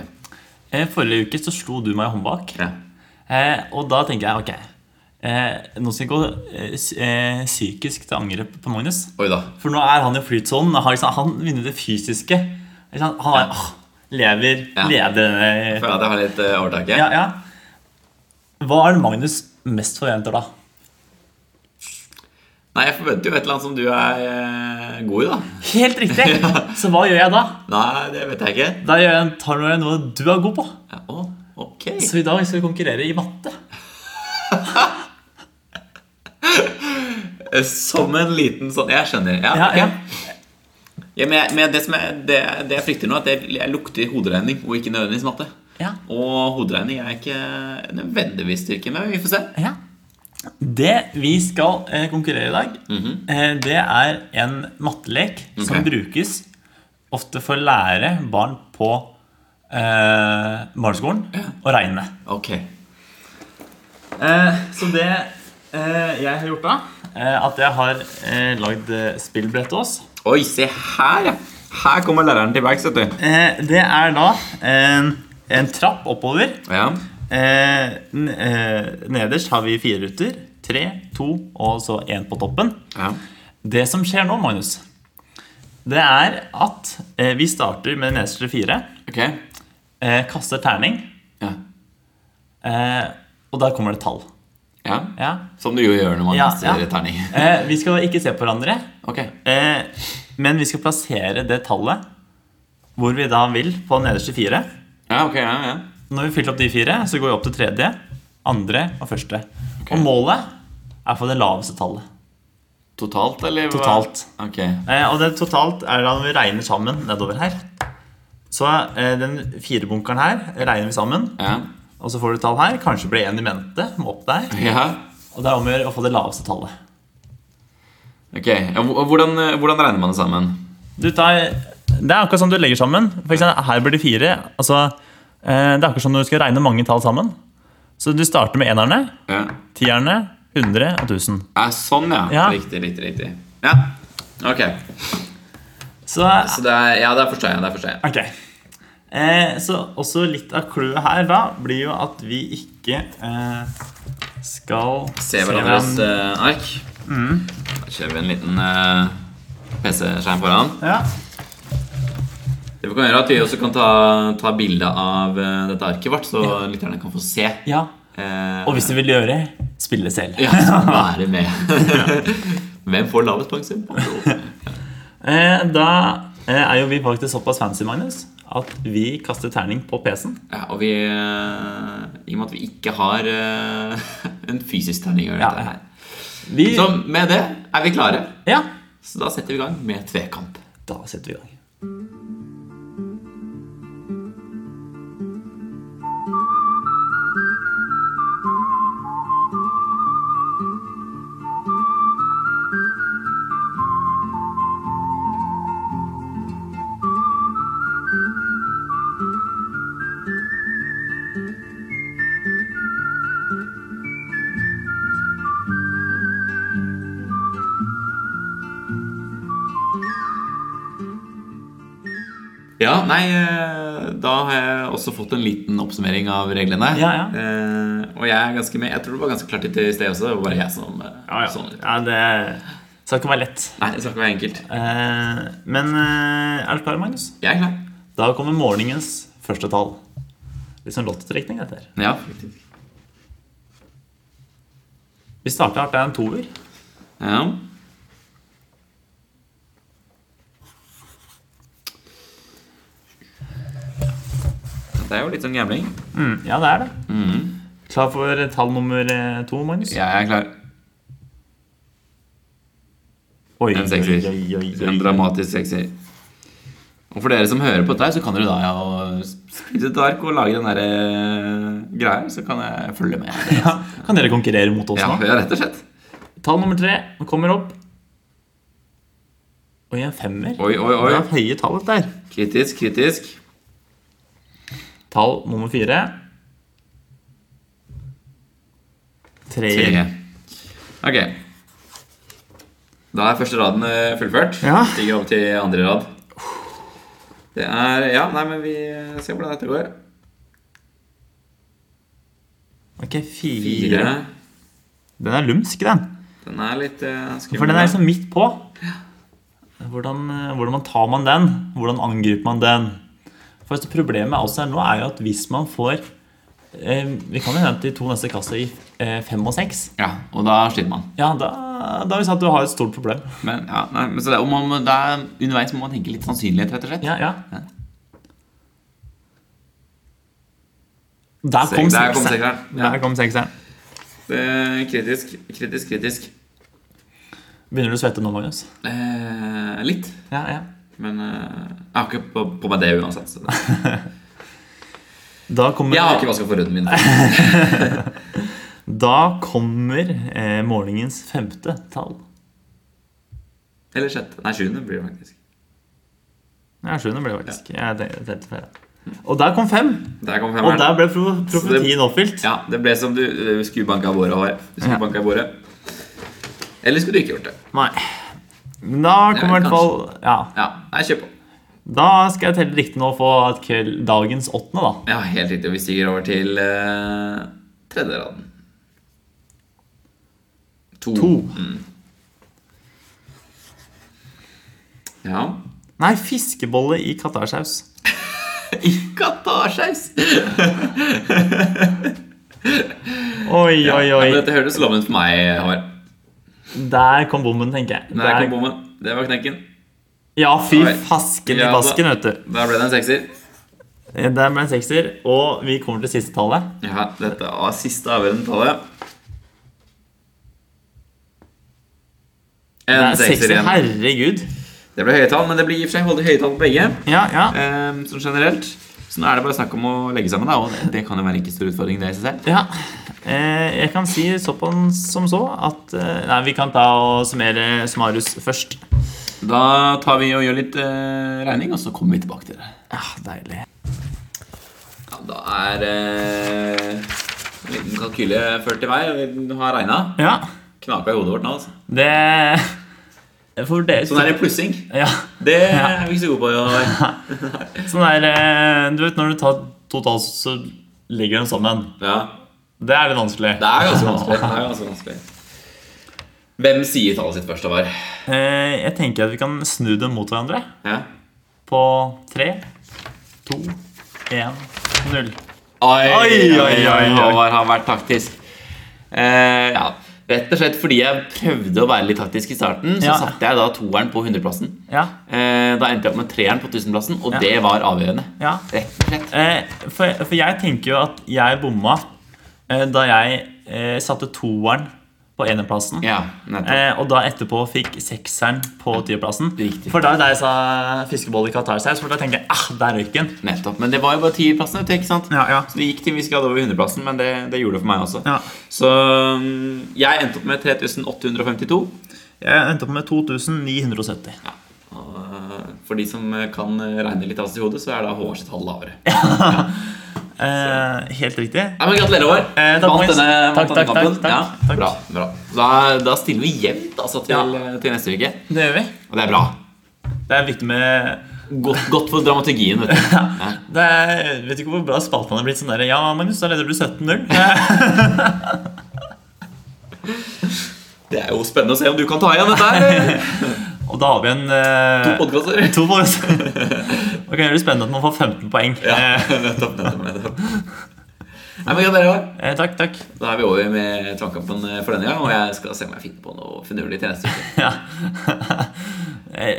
[SPEAKER 2] Eh, forrige uke så slo du meg i håndbak.
[SPEAKER 1] Ja.
[SPEAKER 2] Eh, og da tenker jeg ok eh, Nå skal jeg gå eh, s- eh, psykisk til angrep på Magnus.
[SPEAKER 1] Oi da.
[SPEAKER 2] For nå er han i flytsonen. og Har liksom, han vinner det fysiske. Ikke sant? Han er, åh, lever,
[SPEAKER 1] Ja.
[SPEAKER 2] leder
[SPEAKER 1] Jeg
[SPEAKER 2] eh,
[SPEAKER 1] føler at jeg har litt eh, overtaket.
[SPEAKER 2] ja, ja. Hva er det Magnus mest forventer, da?
[SPEAKER 1] Nei, jeg forventer jo et eller annet som du er eh, god i, da.
[SPEAKER 2] Helt
[SPEAKER 1] *laughs*
[SPEAKER 2] riktig! Så hva gjør jeg da?
[SPEAKER 1] Nei, det vet jeg ikke.
[SPEAKER 2] Da gjør jeg, tar jeg noe du er god på.
[SPEAKER 1] Ja, Å, ok.
[SPEAKER 2] Så i dag skal vi konkurrere i matte.
[SPEAKER 1] Eh, Som en liten sånn Jeg skjønner. Ja,
[SPEAKER 2] Ja,
[SPEAKER 1] ok.
[SPEAKER 2] ja.
[SPEAKER 1] Ja, men jeg, men det, som jeg, det, det jeg frykter nå, er at jeg, jeg lukter hoderegning og ikke nødvendigvis matte.
[SPEAKER 2] Ja.
[SPEAKER 1] Og hoderegning er ikke nødvendigvis styrken min. Vi får se.
[SPEAKER 2] ja. Det vi skal eh, konkurrere i dag, eh, det er en mattelek som
[SPEAKER 1] Ok.
[SPEAKER 2] brukes ofte for å lære barn på eh, barneskolen å regne.
[SPEAKER 1] Ok.
[SPEAKER 2] Eh, så det eh, jeg har gjort da, eh, at jeg har eh, lagd eh, spillbrett til oss.
[SPEAKER 1] Oi, se her, ja. Her kommer læreren til verks, vet du.
[SPEAKER 2] Eh, det er da en, en trapp oppover.
[SPEAKER 1] Ja.
[SPEAKER 2] Eh, n eh, nederst har vi fire ruter. Tre, to og så én på toppen.
[SPEAKER 1] ja.
[SPEAKER 2] Det som skjer nå, Magnus, det er at eh, vi starter med nederste fire.
[SPEAKER 1] Ok.
[SPEAKER 2] Eh, kaster terning,
[SPEAKER 1] Ja.
[SPEAKER 2] eh, og der kommer det tall.
[SPEAKER 1] ja.
[SPEAKER 2] Ja.
[SPEAKER 1] Som du jo gjør når man
[SPEAKER 2] Ja,
[SPEAKER 1] ser
[SPEAKER 2] ja.
[SPEAKER 1] terning.
[SPEAKER 2] Eh, vi skal ikke se på hverandre.
[SPEAKER 1] Ok.
[SPEAKER 2] Eh, men vi skal plassere det tallet hvor vi da vil, på nederste fire.
[SPEAKER 1] Ja, ok, ja, ja.
[SPEAKER 2] Når vi fyller opp de fire, så går vi opp til tredje, andre og første. Og målet er for det laveste tallet.
[SPEAKER 1] Totalt, eller? hva?
[SPEAKER 2] Totalt.
[SPEAKER 1] Ok.
[SPEAKER 2] Eh, og det totalt er da når vi regner sammen nedover her. Så eh, den firebunkeren her regner vi sammen,
[SPEAKER 1] Ja.
[SPEAKER 2] og så får du tall her. Kanskje blir én i mente. Må opp der.
[SPEAKER 1] ja.
[SPEAKER 2] Og det er om å gjøre å få det laveste tallet.
[SPEAKER 1] Ok. Ja, hvor- hvordan, eh, hvordan regner man det sammen?
[SPEAKER 2] Du tar, det er akkurat som du legger sammen. For eksempel, her blir det fire. Altså, eh, det er akkurat som når du skal regne mange tall sammen. Så du starter med enerne,
[SPEAKER 1] Ja.
[SPEAKER 2] tierne, hundre og tusen.
[SPEAKER 1] Ja, sånn, ja.
[SPEAKER 2] Ja.
[SPEAKER 1] Riktig, riktig, riktig. Ja. Ok.
[SPEAKER 2] Så,
[SPEAKER 1] Så det er, ja, der forstår jeg. Der forstår jeg.
[SPEAKER 2] ok. Eh, så også litt av clouet her da blir jo at vi ikke eh, skal
[SPEAKER 1] Se hverandres
[SPEAKER 2] hverandre.
[SPEAKER 1] eh, ark. Da kjører vi en liten eh, PC-skjerm foran.
[SPEAKER 2] Ja.
[SPEAKER 1] Det vi kan gjøre er at vi også kan ta, ta bilde av eh, dette arket vårt, så lytterne kan få se.
[SPEAKER 2] ja.
[SPEAKER 1] Eh,
[SPEAKER 2] Og hvis du vil gjøre, spille selv.
[SPEAKER 1] ja,
[SPEAKER 2] *laughs*
[SPEAKER 1] så være med. Hvem får lavest poengsum?
[SPEAKER 2] Eh, da eh, er jo vi faktisk såpass fancy, Magnus, at vi kaster terning på PC-en.
[SPEAKER 1] Ja, og vi eh, I og med at vi ikke har eh, *laughs* en fysisk terning å gjøre
[SPEAKER 2] Ja.
[SPEAKER 1] dette her.
[SPEAKER 2] Vi,
[SPEAKER 1] Så med det er vi klare.
[SPEAKER 2] ja.
[SPEAKER 1] Så da setter vi i gang med tvekamp.
[SPEAKER 2] Da setter vi i gang.
[SPEAKER 1] Ja, nei, eh, da har jeg også fått en liten oppsummering av reglene.
[SPEAKER 2] Ja, ja.
[SPEAKER 1] Eh, og jeg er ganske med. Jeg tror det var ganske klart litt i sted også. Det var bare jeg som eh, sånn.
[SPEAKER 2] Ja, det skal ikke være lett.
[SPEAKER 1] Nei, det skal ikke være enkelt.
[SPEAKER 2] Eh, men eh, er du klar, Magnus?
[SPEAKER 1] Jeg er klar.
[SPEAKER 2] Da kommer morgenens første tall. Litt sånn lottotrekning, dette her.
[SPEAKER 1] Ja.
[SPEAKER 2] Vi starter hardt. Det er en toer.
[SPEAKER 1] ja. Det er jo litt sånn gambling.
[SPEAKER 2] Mm, ja, det er det.
[SPEAKER 1] Mm.
[SPEAKER 2] Klar for tall nummer eh, to, Magnus?
[SPEAKER 1] Jeg er klar.
[SPEAKER 2] Oi,
[SPEAKER 1] En sekser. En dramatisk sekser. Og for dere som hører på dette, her, så kan dere da ja, spille et ark og lage den der eh, greia, så kan jeg følge med.
[SPEAKER 2] *laughs* *laughs* Ja, kan dere konkurrere mot oss
[SPEAKER 1] Ja,
[SPEAKER 2] nå?
[SPEAKER 1] ja rett og slett.
[SPEAKER 2] Tall nummer tre kommer opp. Oi, en femmer.
[SPEAKER 1] Oi, oi, oi.
[SPEAKER 2] Det er høye tall der.
[SPEAKER 1] Kritisk, kritisk.
[SPEAKER 2] Tall nummer fire. Treer.
[SPEAKER 1] Tre. Ok. Da er første raden eh, fullført.
[SPEAKER 2] Ja.
[SPEAKER 1] Stiger opp til andre rad. Det er Ja, nei, men vi eh, ser hvordan dette går.
[SPEAKER 2] Ok, fire.
[SPEAKER 1] Fire.
[SPEAKER 2] Den er lumsk, den.
[SPEAKER 1] Den er litt eh, skummel.
[SPEAKER 2] For den er liksom midt på. Hvordan, eh, hvordan man tar man den? Hvordan angriper man den? For så Problemet også her nå er jo at hvis man får eh, Vi kan jo hente de to neste kassa i eh, fem og seks.
[SPEAKER 1] Ja, og da sliter man.
[SPEAKER 2] Ja, da, da har vi sagt at du har et stort problem.
[SPEAKER 1] Men, ja, nei, men så det, og man, må- da, underveis må man tenke litt sannsynlighet, rett og slett.
[SPEAKER 2] Ja, ja. Der
[SPEAKER 1] Se-
[SPEAKER 2] kom
[SPEAKER 1] der kom
[SPEAKER 2] sekseren.
[SPEAKER 1] sekseren. Ja.
[SPEAKER 2] Der kom sekseren.
[SPEAKER 1] Det er kritisk, kritisk, kritisk.
[SPEAKER 2] Begynner du å svette nå, Magnus?
[SPEAKER 1] Eh, litt.
[SPEAKER 2] Ja, ja.
[SPEAKER 1] Men eh, jeg har ikke på, på meg det uansett. Så.
[SPEAKER 2] *laughs*
[SPEAKER 1] det-
[SPEAKER 2] Da kommer,
[SPEAKER 1] Jeg har ikke vaska forhuden min.
[SPEAKER 2] da kommer eh, morgenens femte tall.
[SPEAKER 1] Eller sjette. Nei, sjuende blir det faktisk.
[SPEAKER 2] Ja, sjuende ble det faktisk. Jeg tenkte- tenkte feil. Og der kom fem!
[SPEAKER 1] Der kom
[SPEAKER 2] Og
[SPEAKER 1] femmeren.
[SPEAKER 2] der ble pro profetien oppfylt.
[SPEAKER 1] Ja, det ble som du, du skulle banka i bordet, Håvard. Du skulle
[SPEAKER 2] Ja.
[SPEAKER 1] banka i bordet. Eller skulle du ikke gjort det?
[SPEAKER 2] Nei. Men Da kommer i hvert fall Ja.
[SPEAKER 1] Ja, nei, kjør på.
[SPEAKER 2] Da skal jeg telle riktig nå og få et kveld, dagens åttende, da.
[SPEAKER 1] Ja, helt riktig. Vi stiger over til eh, tredje raden. To.
[SPEAKER 2] To.
[SPEAKER 1] Mm. Ja.
[SPEAKER 2] Nei, fiskebolle i qatarsaus.
[SPEAKER 1] I katarsaus!
[SPEAKER 2] Oi, oi,
[SPEAKER 1] Ja,
[SPEAKER 2] oi.
[SPEAKER 1] men dette hørtes lovende ut for meg, Håvard.
[SPEAKER 2] Der kom bommen, tenker jeg.
[SPEAKER 1] Der
[SPEAKER 2] Der-
[SPEAKER 1] kom bommen. Det var knekken.
[SPEAKER 2] Ja, fy
[SPEAKER 1] Oi.
[SPEAKER 2] fasken i
[SPEAKER 1] Ja, da-
[SPEAKER 2] basken, vet du. Eh,
[SPEAKER 1] Der ble det en sekser.
[SPEAKER 2] Der ble det en sekser, og vi kommer til siste tallet.
[SPEAKER 1] Ja, dette var siste avgjørende tallet.
[SPEAKER 2] Det
[SPEAKER 1] En
[SPEAKER 2] er
[SPEAKER 1] sekser
[SPEAKER 2] sekser,
[SPEAKER 1] igjen.
[SPEAKER 2] herregud.
[SPEAKER 1] Det ble høye tall, men det blir i og for seg veldig høye tall på begge.
[SPEAKER 2] Ja, ja.
[SPEAKER 1] Eh, sånn generelt. Så nå er det bare snakk om å legge sammen, da, og det- det kan jo være ikke stor utfordring, det i seg selv.
[SPEAKER 2] ja. Eh, jeg kan si såpass som så at eh, Nei, vi kan ta og summere Smarus først.
[SPEAKER 1] Da tar vi og gjør litt eh, regning, og så kommer vi tilbake til det.
[SPEAKER 2] Ja, Ah, deilig.
[SPEAKER 1] Ja, da er eh, en liten kalkyle ført i vei, og vi har regna.
[SPEAKER 2] Ja,
[SPEAKER 1] Knaka i hodet vårt nå, altså.
[SPEAKER 2] det For dere
[SPEAKER 1] Sånn er det plussing.
[SPEAKER 2] Ja.
[SPEAKER 1] *laughs* Det er vi ikke så gode på. Ja.
[SPEAKER 2] Sånn der eh, Du vet når du tar to tall, så legger du dem sammen.
[SPEAKER 1] ja.
[SPEAKER 2] Det er litt vanskelig.
[SPEAKER 1] Det er ganske vanskelig. Det er ganske vanskelig. Hvem sier tallet sitt først, Håvard?
[SPEAKER 2] Eh, jeg tenker at vi kan snu dem mot hverandre.
[SPEAKER 1] Ja.
[SPEAKER 2] på tre, to, én, null.
[SPEAKER 1] Oi,
[SPEAKER 2] oi, oi, oi.
[SPEAKER 1] Håvard har vært taktisk. Eh, ja. Rett og slett fordi jeg prøvde å være litt taktisk i starten, så
[SPEAKER 2] Ja.
[SPEAKER 1] satte jeg da toeren på 100-plassen.
[SPEAKER 2] Ja.
[SPEAKER 1] Eh, da endte jeg opp med treeren på 1000-plassen, og
[SPEAKER 2] Ja.
[SPEAKER 1] det var avgjørende.
[SPEAKER 2] ja.
[SPEAKER 1] Rett og slett.
[SPEAKER 2] Eh, for, for jeg tenker jo at jeg bomma eh, da jeg eh, satte toeren på eneplassen.
[SPEAKER 1] Ja, nettopp.
[SPEAKER 2] Eh, og da etterpå fikk sekseren på tiendeplassen.
[SPEAKER 1] Riktig.
[SPEAKER 2] For da er det jeg sa fiskebolle i qatarsaus, for da tenker jeg ah, der røyk den.
[SPEAKER 1] nettopp. Men det var jo bare 10-plassen, vet du, ikke sant?
[SPEAKER 2] Ja, ja.
[SPEAKER 1] Så det gikk til vi skal over 100-plassen, men det, det gjorde det for meg også.
[SPEAKER 2] Ja.
[SPEAKER 1] Så mm, jeg endte opp med 3852.
[SPEAKER 2] Jeg endte opp med 2970.
[SPEAKER 1] Og, eh, For de som eh, kan eh, regne litt av seg i hodet, så er da Håvard sitt tall lavere.
[SPEAKER 2] Eh, helt riktig.
[SPEAKER 1] Ja, men Gratulerer, Håvard.
[SPEAKER 2] Eh, takk,
[SPEAKER 1] vant
[SPEAKER 2] Magnus.
[SPEAKER 1] denne,
[SPEAKER 2] Takk,
[SPEAKER 1] vant denne
[SPEAKER 2] takk,
[SPEAKER 1] kampen.
[SPEAKER 2] takk, takk,
[SPEAKER 1] ja,
[SPEAKER 2] takk.
[SPEAKER 1] Bra, bra. Da, da stiller vi jevnt altså, til,
[SPEAKER 2] Ja.
[SPEAKER 1] til neste uke.
[SPEAKER 2] Det gjør vi.
[SPEAKER 1] Og det er bra.
[SPEAKER 2] Det er viktig med
[SPEAKER 1] Godt, godt for dramaturgien. Vet du. Ja.
[SPEAKER 2] Det er, vet ikke hvor bra spalten har blitt sånn der Ja, Magnus, da leder du 17-0.
[SPEAKER 1] *laughs* Det er jo spennende å se om du kan ta igjen dette her.
[SPEAKER 2] *laughs* Og da har vi en eh,
[SPEAKER 1] *laughs* To podkaster.
[SPEAKER 2] To podcaster. *laughs* Ok, det blir spennende at man får 15 poeng.
[SPEAKER 1] Ja,
[SPEAKER 2] Eh,
[SPEAKER 1] nettopp, nettopp, nettopp. Nei, men Gratulerer, Håvard.
[SPEAKER 2] eh, takk, *laughs* takk.
[SPEAKER 1] Da er vi over med Tvangkampen for denne gang, og jeg skal se om jeg finner på noe finurlig til neste uke.
[SPEAKER 2] Ja. Eh,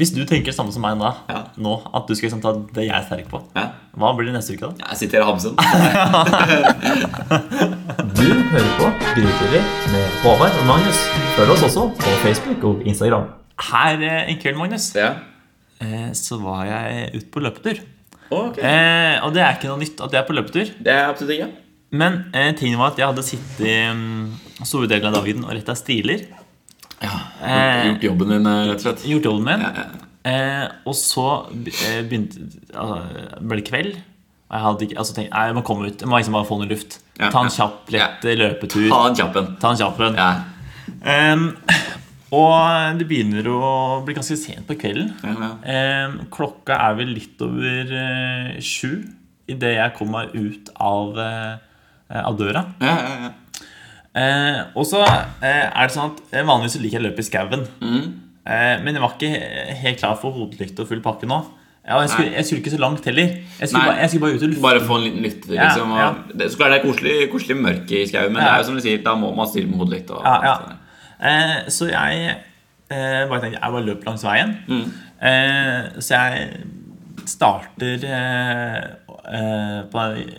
[SPEAKER 2] Hvis du tenker det samme som meg da,
[SPEAKER 1] Ja.
[SPEAKER 2] nå, at du skal liksom, ta det jeg er sterk på,
[SPEAKER 1] Ja.
[SPEAKER 2] hva blir det neste uke, da?
[SPEAKER 1] Jeg siterer Hamsun.
[SPEAKER 2] Du hører på Grytidlig med Håvard og Magnus. Følg oss også på Facebook og Instagram. Her eh, en kveld, Magnus,
[SPEAKER 1] Ja.
[SPEAKER 2] eh, så var jeg ute på løpetur.
[SPEAKER 1] Ok.
[SPEAKER 2] Eh, og det er ikke noe nytt at jeg er på løpetur.
[SPEAKER 1] Det er absolutt ikke.
[SPEAKER 2] Men mm, eh, tingen var at jeg hadde sittet um, store deler av dagen og retta stiler.
[SPEAKER 1] Ja.
[SPEAKER 2] Eh, Eh,
[SPEAKER 1] Gjort jobben din, eh, rett og slett.
[SPEAKER 2] gjort jobben min.
[SPEAKER 1] Ja, ja.
[SPEAKER 2] Eh, og så be- eh, begynte, altså, ble det kveld. Og jeg hadde ikke, altså tenkte, nei, jeg må komme ut, jeg må liksom bare få noe luft.
[SPEAKER 1] Ja,
[SPEAKER 2] Ta en
[SPEAKER 1] ja.
[SPEAKER 2] kjapp, lett løpetur.
[SPEAKER 1] Ta en kjapp en.
[SPEAKER 2] Ta en kjapp en.
[SPEAKER 1] Ja.
[SPEAKER 2] Ehm, og det begynner å bli ganske sent på kvelden.
[SPEAKER 1] Ja, ja.
[SPEAKER 2] Ehm, klokka er vel litt over eh, sju idet jeg kom meg ut av, eh, av døra.
[SPEAKER 1] Ja, ja, ja.
[SPEAKER 2] Eh, og så eh, er det sånn at eh, vanligvis så liker jeg å løpe i skauen.
[SPEAKER 1] Mm.
[SPEAKER 2] Eh, men jeg var ikke he- helt klar for hodelykt og full pakke nå. Ja, og jeg, skulle,
[SPEAKER 1] Nei.
[SPEAKER 2] jeg skulle ikke så langt heller. Jeg skulle,
[SPEAKER 1] Nei.
[SPEAKER 2] bare, jeg skulle bare ut og lufte.
[SPEAKER 1] Bare få en liten lytt. Liksom,
[SPEAKER 2] Ja,
[SPEAKER 1] og, det, så klart det er koselig, koselig mørke i skauen, men det
[SPEAKER 2] Ja.
[SPEAKER 1] er jo som du sier, da må man stille med hodelykt. og-
[SPEAKER 2] Ja, ja. Eh, så jeg eh, bare tenkte jeg bare løp langs veien.
[SPEAKER 1] Mm.
[SPEAKER 2] Eh, så jeg starter eh, eh, på en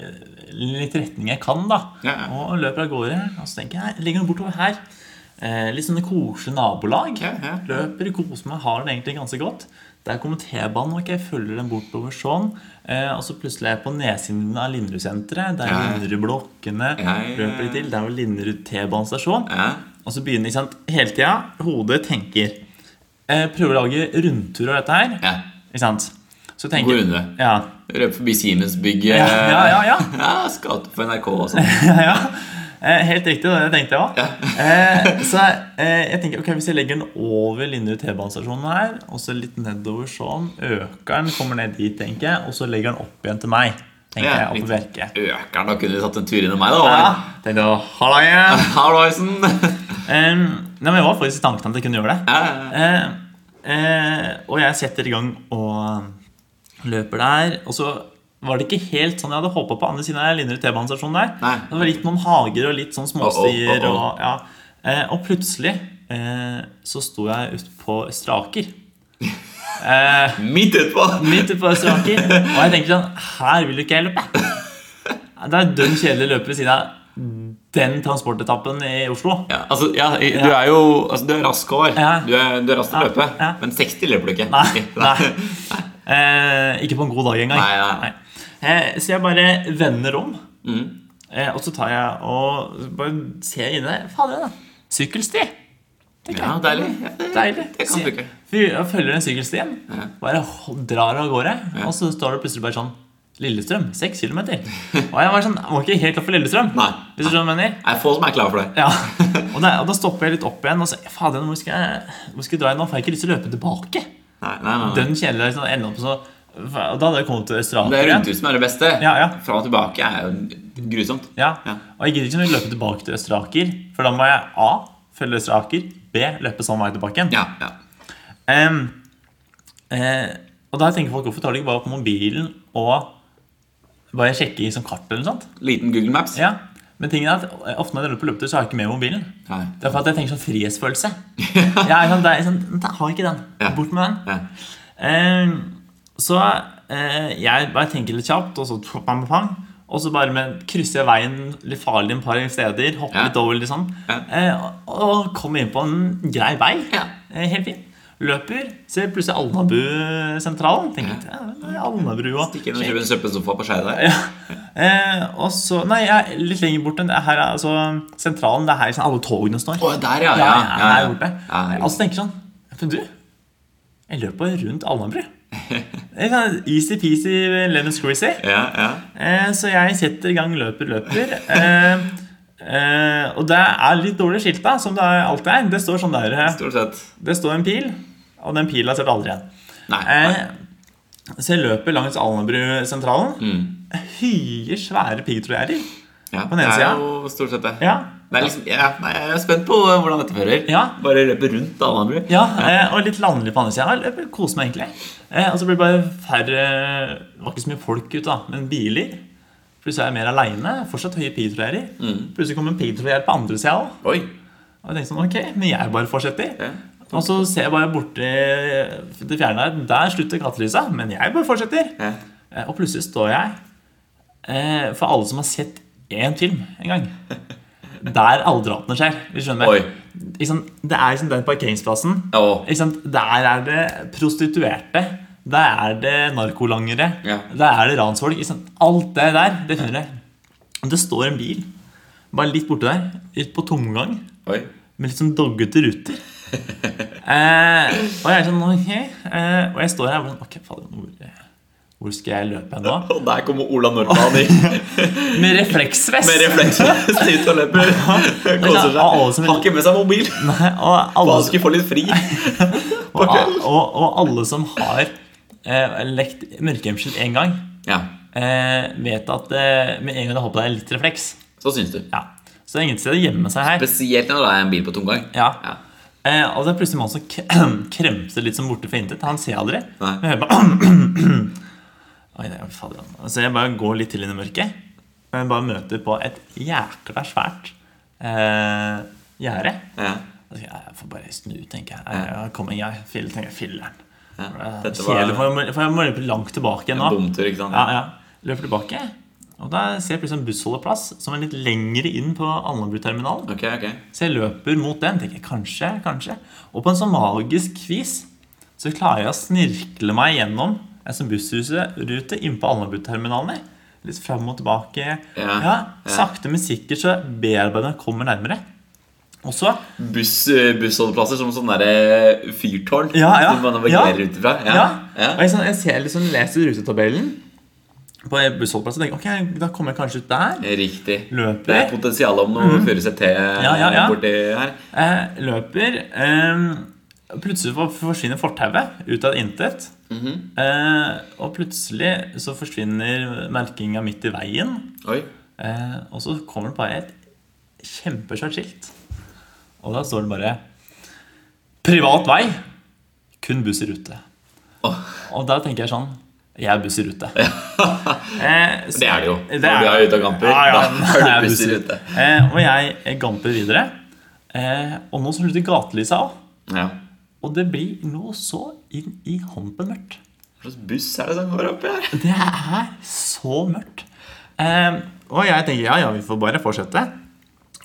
[SPEAKER 2] litt retning jeg kan, da.
[SPEAKER 1] Ja, ja.
[SPEAKER 2] Og løper av gårde. Og så tenker jeg, jeg legger den bortover her. Eh, litt sånne koselige nabolag.
[SPEAKER 1] Ja, ja.
[SPEAKER 2] Løper, koser meg, har den egentlig ganske godt. Der kommer T-banen, ok, jeg følger den bortover sånn. Eh, og så plutselig er jeg på nedsiden av Linderud-senteret. Der
[SPEAKER 1] Ja, ja.
[SPEAKER 2] Linderud-blokkene
[SPEAKER 1] Ja, ja, ja.
[SPEAKER 2] løper litt til. Der var Linderud T-banestasjon.
[SPEAKER 1] Ja.
[SPEAKER 2] Og så begynner ikke sant, hele tida hodet tenker eh, Prøver å lage rundtur av dette her.
[SPEAKER 1] Ja.
[SPEAKER 2] Ikke sant? Så
[SPEAKER 1] Gå
[SPEAKER 2] tenker
[SPEAKER 1] runde.
[SPEAKER 2] Ja. *laughs*
[SPEAKER 1] Røpe forbi Siemens-bygget.
[SPEAKER 2] Ja, ja, ja,
[SPEAKER 1] *laughs*
[SPEAKER 2] ja.
[SPEAKER 1] Skatt på NRK og sånn.
[SPEAKER 2] ja, ja. Eh, helt riktig, det tenkte jeg òg. eh, så eh, jeg tenker, ok, hvis jeg legger den over Linderud T-banestasjonen her, og så litt nedover sånn, øker den, kommer ned dit, tenker jeg, og så legger den opp igjen til meg. Tenker
[SPEAKER 1] Ja,
[SPEAKER 2] jeg, opp i verket.
[SPEAKER 1] Økeren, da kunne vi tatt en tur innom meg, da.
[SPEAKER 2] Ja,
[SPEAKER 1] Håvard.
[SPEAKER 2] tenkte jeg, Hallaien!
[SPEAKER 1] Halloisen!
[SPEAKER 2] Eh, nei, men jeg var faktisk i tanken at jeg kunne gjøre det.
[SPEAKER 1] *laughs* Ja, ja, ja.
[SPEAKER 2] Eh, eh, og jeg setter i gang og løper der. Og så var det ikke helt sånn jeg hadde håpa på andre siden av Linderud T-banestasjon der.
[SPEAKER 1] Nei.
[SPEAKER 2] Det var litt noen hager og litt sånn småstier
[SPEAKER 1] Å, å, å, å.
[SPEAKER 2] og ja. Eh, og plutselig eh, så sto jeg ute på Østre Aker. Eh,
[SPEAKER 1] Midt utpå!
[SPEAKER 2] midt ute på Østre Aker. Og jeg tenker sånn Her vil jo ikke jeg løpe. Det er dønn kjedelig å løpe ved siden av den transportetappen i Oslo.
[SPEAKER 1] Ja, altså, ja, du er jo altså, du er rask, Håvard.
[SPEAKER 2] Ja.
[SPEAKER 1] Du, er- du er rask til å
[SPEAKER 2] Ja,
[SPEAKER 1] løpe.
[SPEAKER 2] ja.
[SPEAKER 1] Men 60 løper du ikke. *laughs*
[SPEAKER 2] Nei, nei. Eh, ikke på en god dag engang.
[SPEAKER 1] Nei, nei.
[SPEAKER 2] Eh, så jeg bare vender om,
[SPEAKER 1] Mm.
[SPEAKER 2] eh, og så tar jeg og bare ser inne. Fader, da. Sykkelsti.
[SPEAKER 1] Ja, deilig. Ja, det,
[SPEAKER 2] Deilig.
[SPEAKER 1] det kan funke.
[SPEAKER 2] Så jeg- jeg følger den sykkelstien, bare h- drar av gårde, og så står det plutselig bare sånn Lillestrøm, seks kilometer. Og jeg var sånn, jeg var ikke helt klar for Lillestrøm.
[SPEAKER 1] Nei.
[SPEAKER 2] Hvis du skjønner hva jeg mener?
[SPEAKER 1] Det er få som er klare for det.
[SPEAKER 2] Ja. Og da, og da stopper jeg litt opp igjen og sier Fader, hvor skal jeg, hvor skal jeg dra igjen nå? For jeg har ikke lyst til å løpe tilbake.
[SPEAKER 1] Nei, nei, nei, nei.
[SPEAKER 2] Den kjedelige liksom, ender opp så Og da hadde jeg kommet til Østre
[SPEAKER 1] Det
[SPEAKER 2] Aker
[SPEAKER 1] er
[SPEAKER 2] igjen.
[SPEAKER 1] rundtur som er det beste.
[SPEAKER 2] Ja, ja.
[SPEAKER 1] Fram og tilbake er jo grusomt.
[SPEAKER 2] Ja.
[SPEAKER 1] Ja.
[SPEAKER 2] Og jeg gidder ikke å løpe tilbake til Østre Aker, for da må jeg A. Følge Østre Aker. B. Løpe samme vei tilbake igjen.
[SPEAKER 1] Ja, ja.
[SPEAKER 2] Em, eh, og da tenker folk hvorfor tar de ikke bare opp mobilen og bare sjekker i sånn kart eller noe sånt?
[SPEAKER 1] Liten Google Maps.
[SPEAKER 2] Ja. Men tingen er at eh, ofte når jeg løper på løpetur, så har jeg ikke med mobilen.
[SPEAKER 1] Nei.
[SPEAKER 2] Det er for at jeg tenker
[SPEAKER 1] *laughs*
[SPEAKER 2] sånn frihetsfølelse. Ja, ikke sant? det er sånn, da har jeg ikke den.
[SPEAKER 1] Ja.
[SPEAKER 2] Bort med den.
[SPEAKER 1] Ja.
[SPEAKER 2] Ehm, så eh, jeg bare tenker litt kjapt, og så pang, pang, pang. Og så bare med, krysser jeg veien litt farlig et par steder. Hopper
[SPEAKER 1] Ja.
[SPEAKER 2] litt over, liksom.
[SPEAKER 1] Ja.
[SPEAKER 2] Eh, og, og kommer inn på en grei vei.
[SPEAKER 1] Ja.
[SPEAKER 2] Eh, helt fin. Løper. Ser plutselig Alnabu-sentralen. Tenker ja. det er Alnabru og
[SPEAKER 1] Ikke noe kjøpe en søppelsofa på Skeidar.
[SPEAKER 2] ja. eh, Og så Nei, jeg er litt lenger bort enn det her. er Altså, sentralen, det er her liksom, alle togene står.
[SPEAKER 1] Å, der, ja.
[SPEAKER 2] Ja,
[SPEAKER 1] Ja,
[SPEAKER 2] jeg
[SPEAKER 1] ja,
[SPEAKER 2] er
[SPEAKER 1] ja.
[SPEAKER 2] borte.
[SPEAKER 1] Ja, ja.
[SPEAKER 2] Altså tenker sånn Men du, jeg løper bare rundt
[SPEAKER 1] *laughs*
[SPEAKER 2] Alnabru. Det er sånn Easy-peasy lemon squeezy.
[SPEAKER 1] ja, ja.
[SPEAKER 2] Eh, Så jeg setter i gang løper, løper. Eh, eh, og det er litt dårlig skilta, som det er alltid er. Det står sånn der eh,
[SPEAKER 1] Stort sett.
[SPEAKER 2] Det står en pil, og den pila ser du aldri igjen.
[SPEAKER 1] Nei. nei.
[SPEAKER 2] Eh, så jeg løper langs Alnabrusentralen.
[SPEAKER 1] Mm.
[SPEAKER 2] Høye, svære piggtrådgjerder.
[SPEAKER 1] Ja,
[SPEAKER 2] på den ene
[SPEAKER 1] det
[SPEAKER 2] siden.
[SPEAKER 1] er jo stort sett det.
[SPEAKER 2] Ja.
[SPEAKER 1] Det er liksom, ja, nei, jeg er spent på hvordan dette fører.
[SPEAKER 2] Ja.
[SPEAKER 1] Bare løpe rundt Alnabru.
[SPEAKER 2] Ja, eh, og litt landlig på andre sida. Kose meg egentlig. Eh, Og så blir det bare færre Det var ikke så mye folk ute, da, men biler. Plutselig er jeg mer aleine. Fortsatt høye piggtrådgjerder.
[SPEAKER 1] Mm.
[SPEAKER 2] Plutselig kommer en piggtrådgjerd på andre sida òg.
[SPEAKER 1] Oi.
[SPEAKER 2] Og jeg tenkte sånn, ok, men jeg bare fortsetter.
[SPEAKER 1] Ja.
[SPEAKER 2] Og så ser jeg bare borti det fjerne her. Der slutter kattelysa, men jeg bare fortsetter.
[SPEAKER 1] Ja.
[SPEAKER 2] Eh, Og plutselig står jeg eh, For alle som har sett én film en
[SPEAKER 1] *laughs*
[SPEAKER 2] gang Der alle drapene skjer. Hvis du skjønner
[SPEAKER 1] Oi.
[SPEAKER 2] meg. Ikke sant, det er liksom den parkeringsplassen.
[SPEAKER 1] Å.
[SPEAKER 2] Ikke sant? Der er det prostituerte. Der er det narkolangere.
[SPEAKER 1] Ja.
[SPEAKER 2] Der er det ransfolk. Ikke sant? Alt det der, det finner jeg. Det står en bil bare litt borte der, ut på tomgang.
[SPEAKER 1] Oi.
[SPEAKER 2] med litt sånn doggete
[SPEAKER 1] *laughs*
[SPEAKER 2] ruter. Eh, og jeg er sånn, ok eh, Og jeg står her og bare sånn, ok, fader, hvor, hvor skal jeg løpe hen nå?
[SPEAKER 1] Og der kommer Ola Nordmann i-
[SPEAKER 2] Med refleksvest!
[SPEAKER 1] med
[SPEAKER 2] *laughs*
[SPEAKER 1] refleksvest ut og løper. Koser seg.
[SPEAKER 2] alle som vil-
[SPEAKER 1] Har ikke med seg mobil.
[SPEAKER 2] Nei, *laughs* og alle,
[SPEAKER 1] Han skulle få litt fri.
[SPEAKER 2] og, og, og alle som har eh, lekt mørkegjemsel én gang,
[SPEAKER 1] Ja,
[SPEAKER 2] eh, vet at eh, med en gang du har på deg litt refleks
[SPEAKER 1] så syns du.
[SPEAKER 2] ja. Så det er ingen sted å gjemme seg her.
[SPEAKER 1] Spesielt når det er en bil på tomgang.
[SPEAKER 2] Ja.
[SPEAKER 1] Ja.
[SPEAKER 2] Eh, og det er plutselig en mann som k- *clears throat* kremser litt som borte for intet. Han ser jeg aldri.
[SPEAKER 1] Nei.
[SPEAKER 2] Men jeg hører bare *clears throat* Oi, det er fader, han. Så jeg bare går litt til inn i mørket. Og jeg bare møter på et jækla svært eh, gjerde.
[SPEAKER 1] Ja.
[SPEAKER 2] Og så tenker jeg, jeg får bare snu, tenker jeg. jeg kommer jeg, fill, tenker jeg, filleren.
[SPEAKER 1] dette var-
[SPEAKER 2] Kjedelig, for jeg må- for jeg må løpe langt tilbake igjen nå.
[SPEAKER 1] Bomtur, ikke sant?
[SPEAKER 2] Ja, ja. Løper tilbake. Og da ser jeg plutselig en bussholdeplass som er litt lengre inn på Alnabruterminalen.
[SPEAKER 1] Ok, ok.
[SPEAKER 2] Så jeg løper mot den, tenker jeg, kanskje, kanskje. Og på en sånn magisk vis så klarer jeg å snirkle meg gjennom en sånn bussrute inn på Alnabruterminalen. jeg. Litt fram og tilbake.
[SPEAKER 1] Ja, ja.
[SPEAKER 2] Sakte, men sikkert så bearbeideren kommer nærmere. Og så
[SPEAKER 1] Buss, eh, bussholdeplasser som sånn derre fyrtårn
[SPEAKER 2] Ja, ja.
[SPEAKER 1] som man navigerer
[SPEAKER 2] Ja.
[SPEAKER 1] ut ifra.
[SPEAKER 2] Ja.
[SPEAKER 1] ja.
[SPEAKER 2] Og jeg, sånn, jeg ser liksom, leser rutetabellen på bussholdeplassen og tenker ok, da kommer jeg kanskje ut der.
[SPEAKER 1] Riktig.
[SPEAKER 2] Løper. Mm.
[SPEAKER 1] Det er potensial om noe Furuset T
[SPEAKER 2] Ja, ja, ja.
[SPEAKER 1] borti her.
[SPEAKER 2] Eh, løper eh, Plutselig for- forsvinner fortauet ut av intet.
[SPEAKER 1] Mhm.
[SPEAKER 2] eh, og plutselig så forsvinner merkinga midt i veien.
[SPEAKER 1] Oi.
[SPEAKER 2] Eh, og så kommer det bare et kjempesvært skilt. Og da står det bare 'Privat vei. Kun buss i rute'.
[SPEAKER 1] Åh.
[SPEAKER 2] Og da tenker jeg sånn Jeg er buss i
[SPEAKER 1] *laughs*
[SPEAKER 2] rute. Eh, så-
[SPEAKER 1] Det er det jo.
[SPEAKER 2] Det
[SPEAKER 1] Når du
[SPEAKER 2] er-
[SPEAKER 1] er ute og gamper,
[SPEAKER 2] Ja, *laughs* ja.
[SPEAKER 1] da er du
[SPEAKER 2] Jeg
[SPEAKER 1] buss i
[SPEAKER 2] busser.
[SPEAKER 1] rute.
[SPEAKER 2] Eh, og jeg gamper videre. Eh, og nå slutter gatelyset av.
[SPEAKER 1] Ja.
[SPEAKER 2] Og det blir nå så inn i hånden mørkt.
[SPEAKER 1] Hva slags buss er det som går oppi her?
[SPEAKER 2] Det er så mørkt. Eh, og jeg tenker ja, ja, vi får bare fortsette.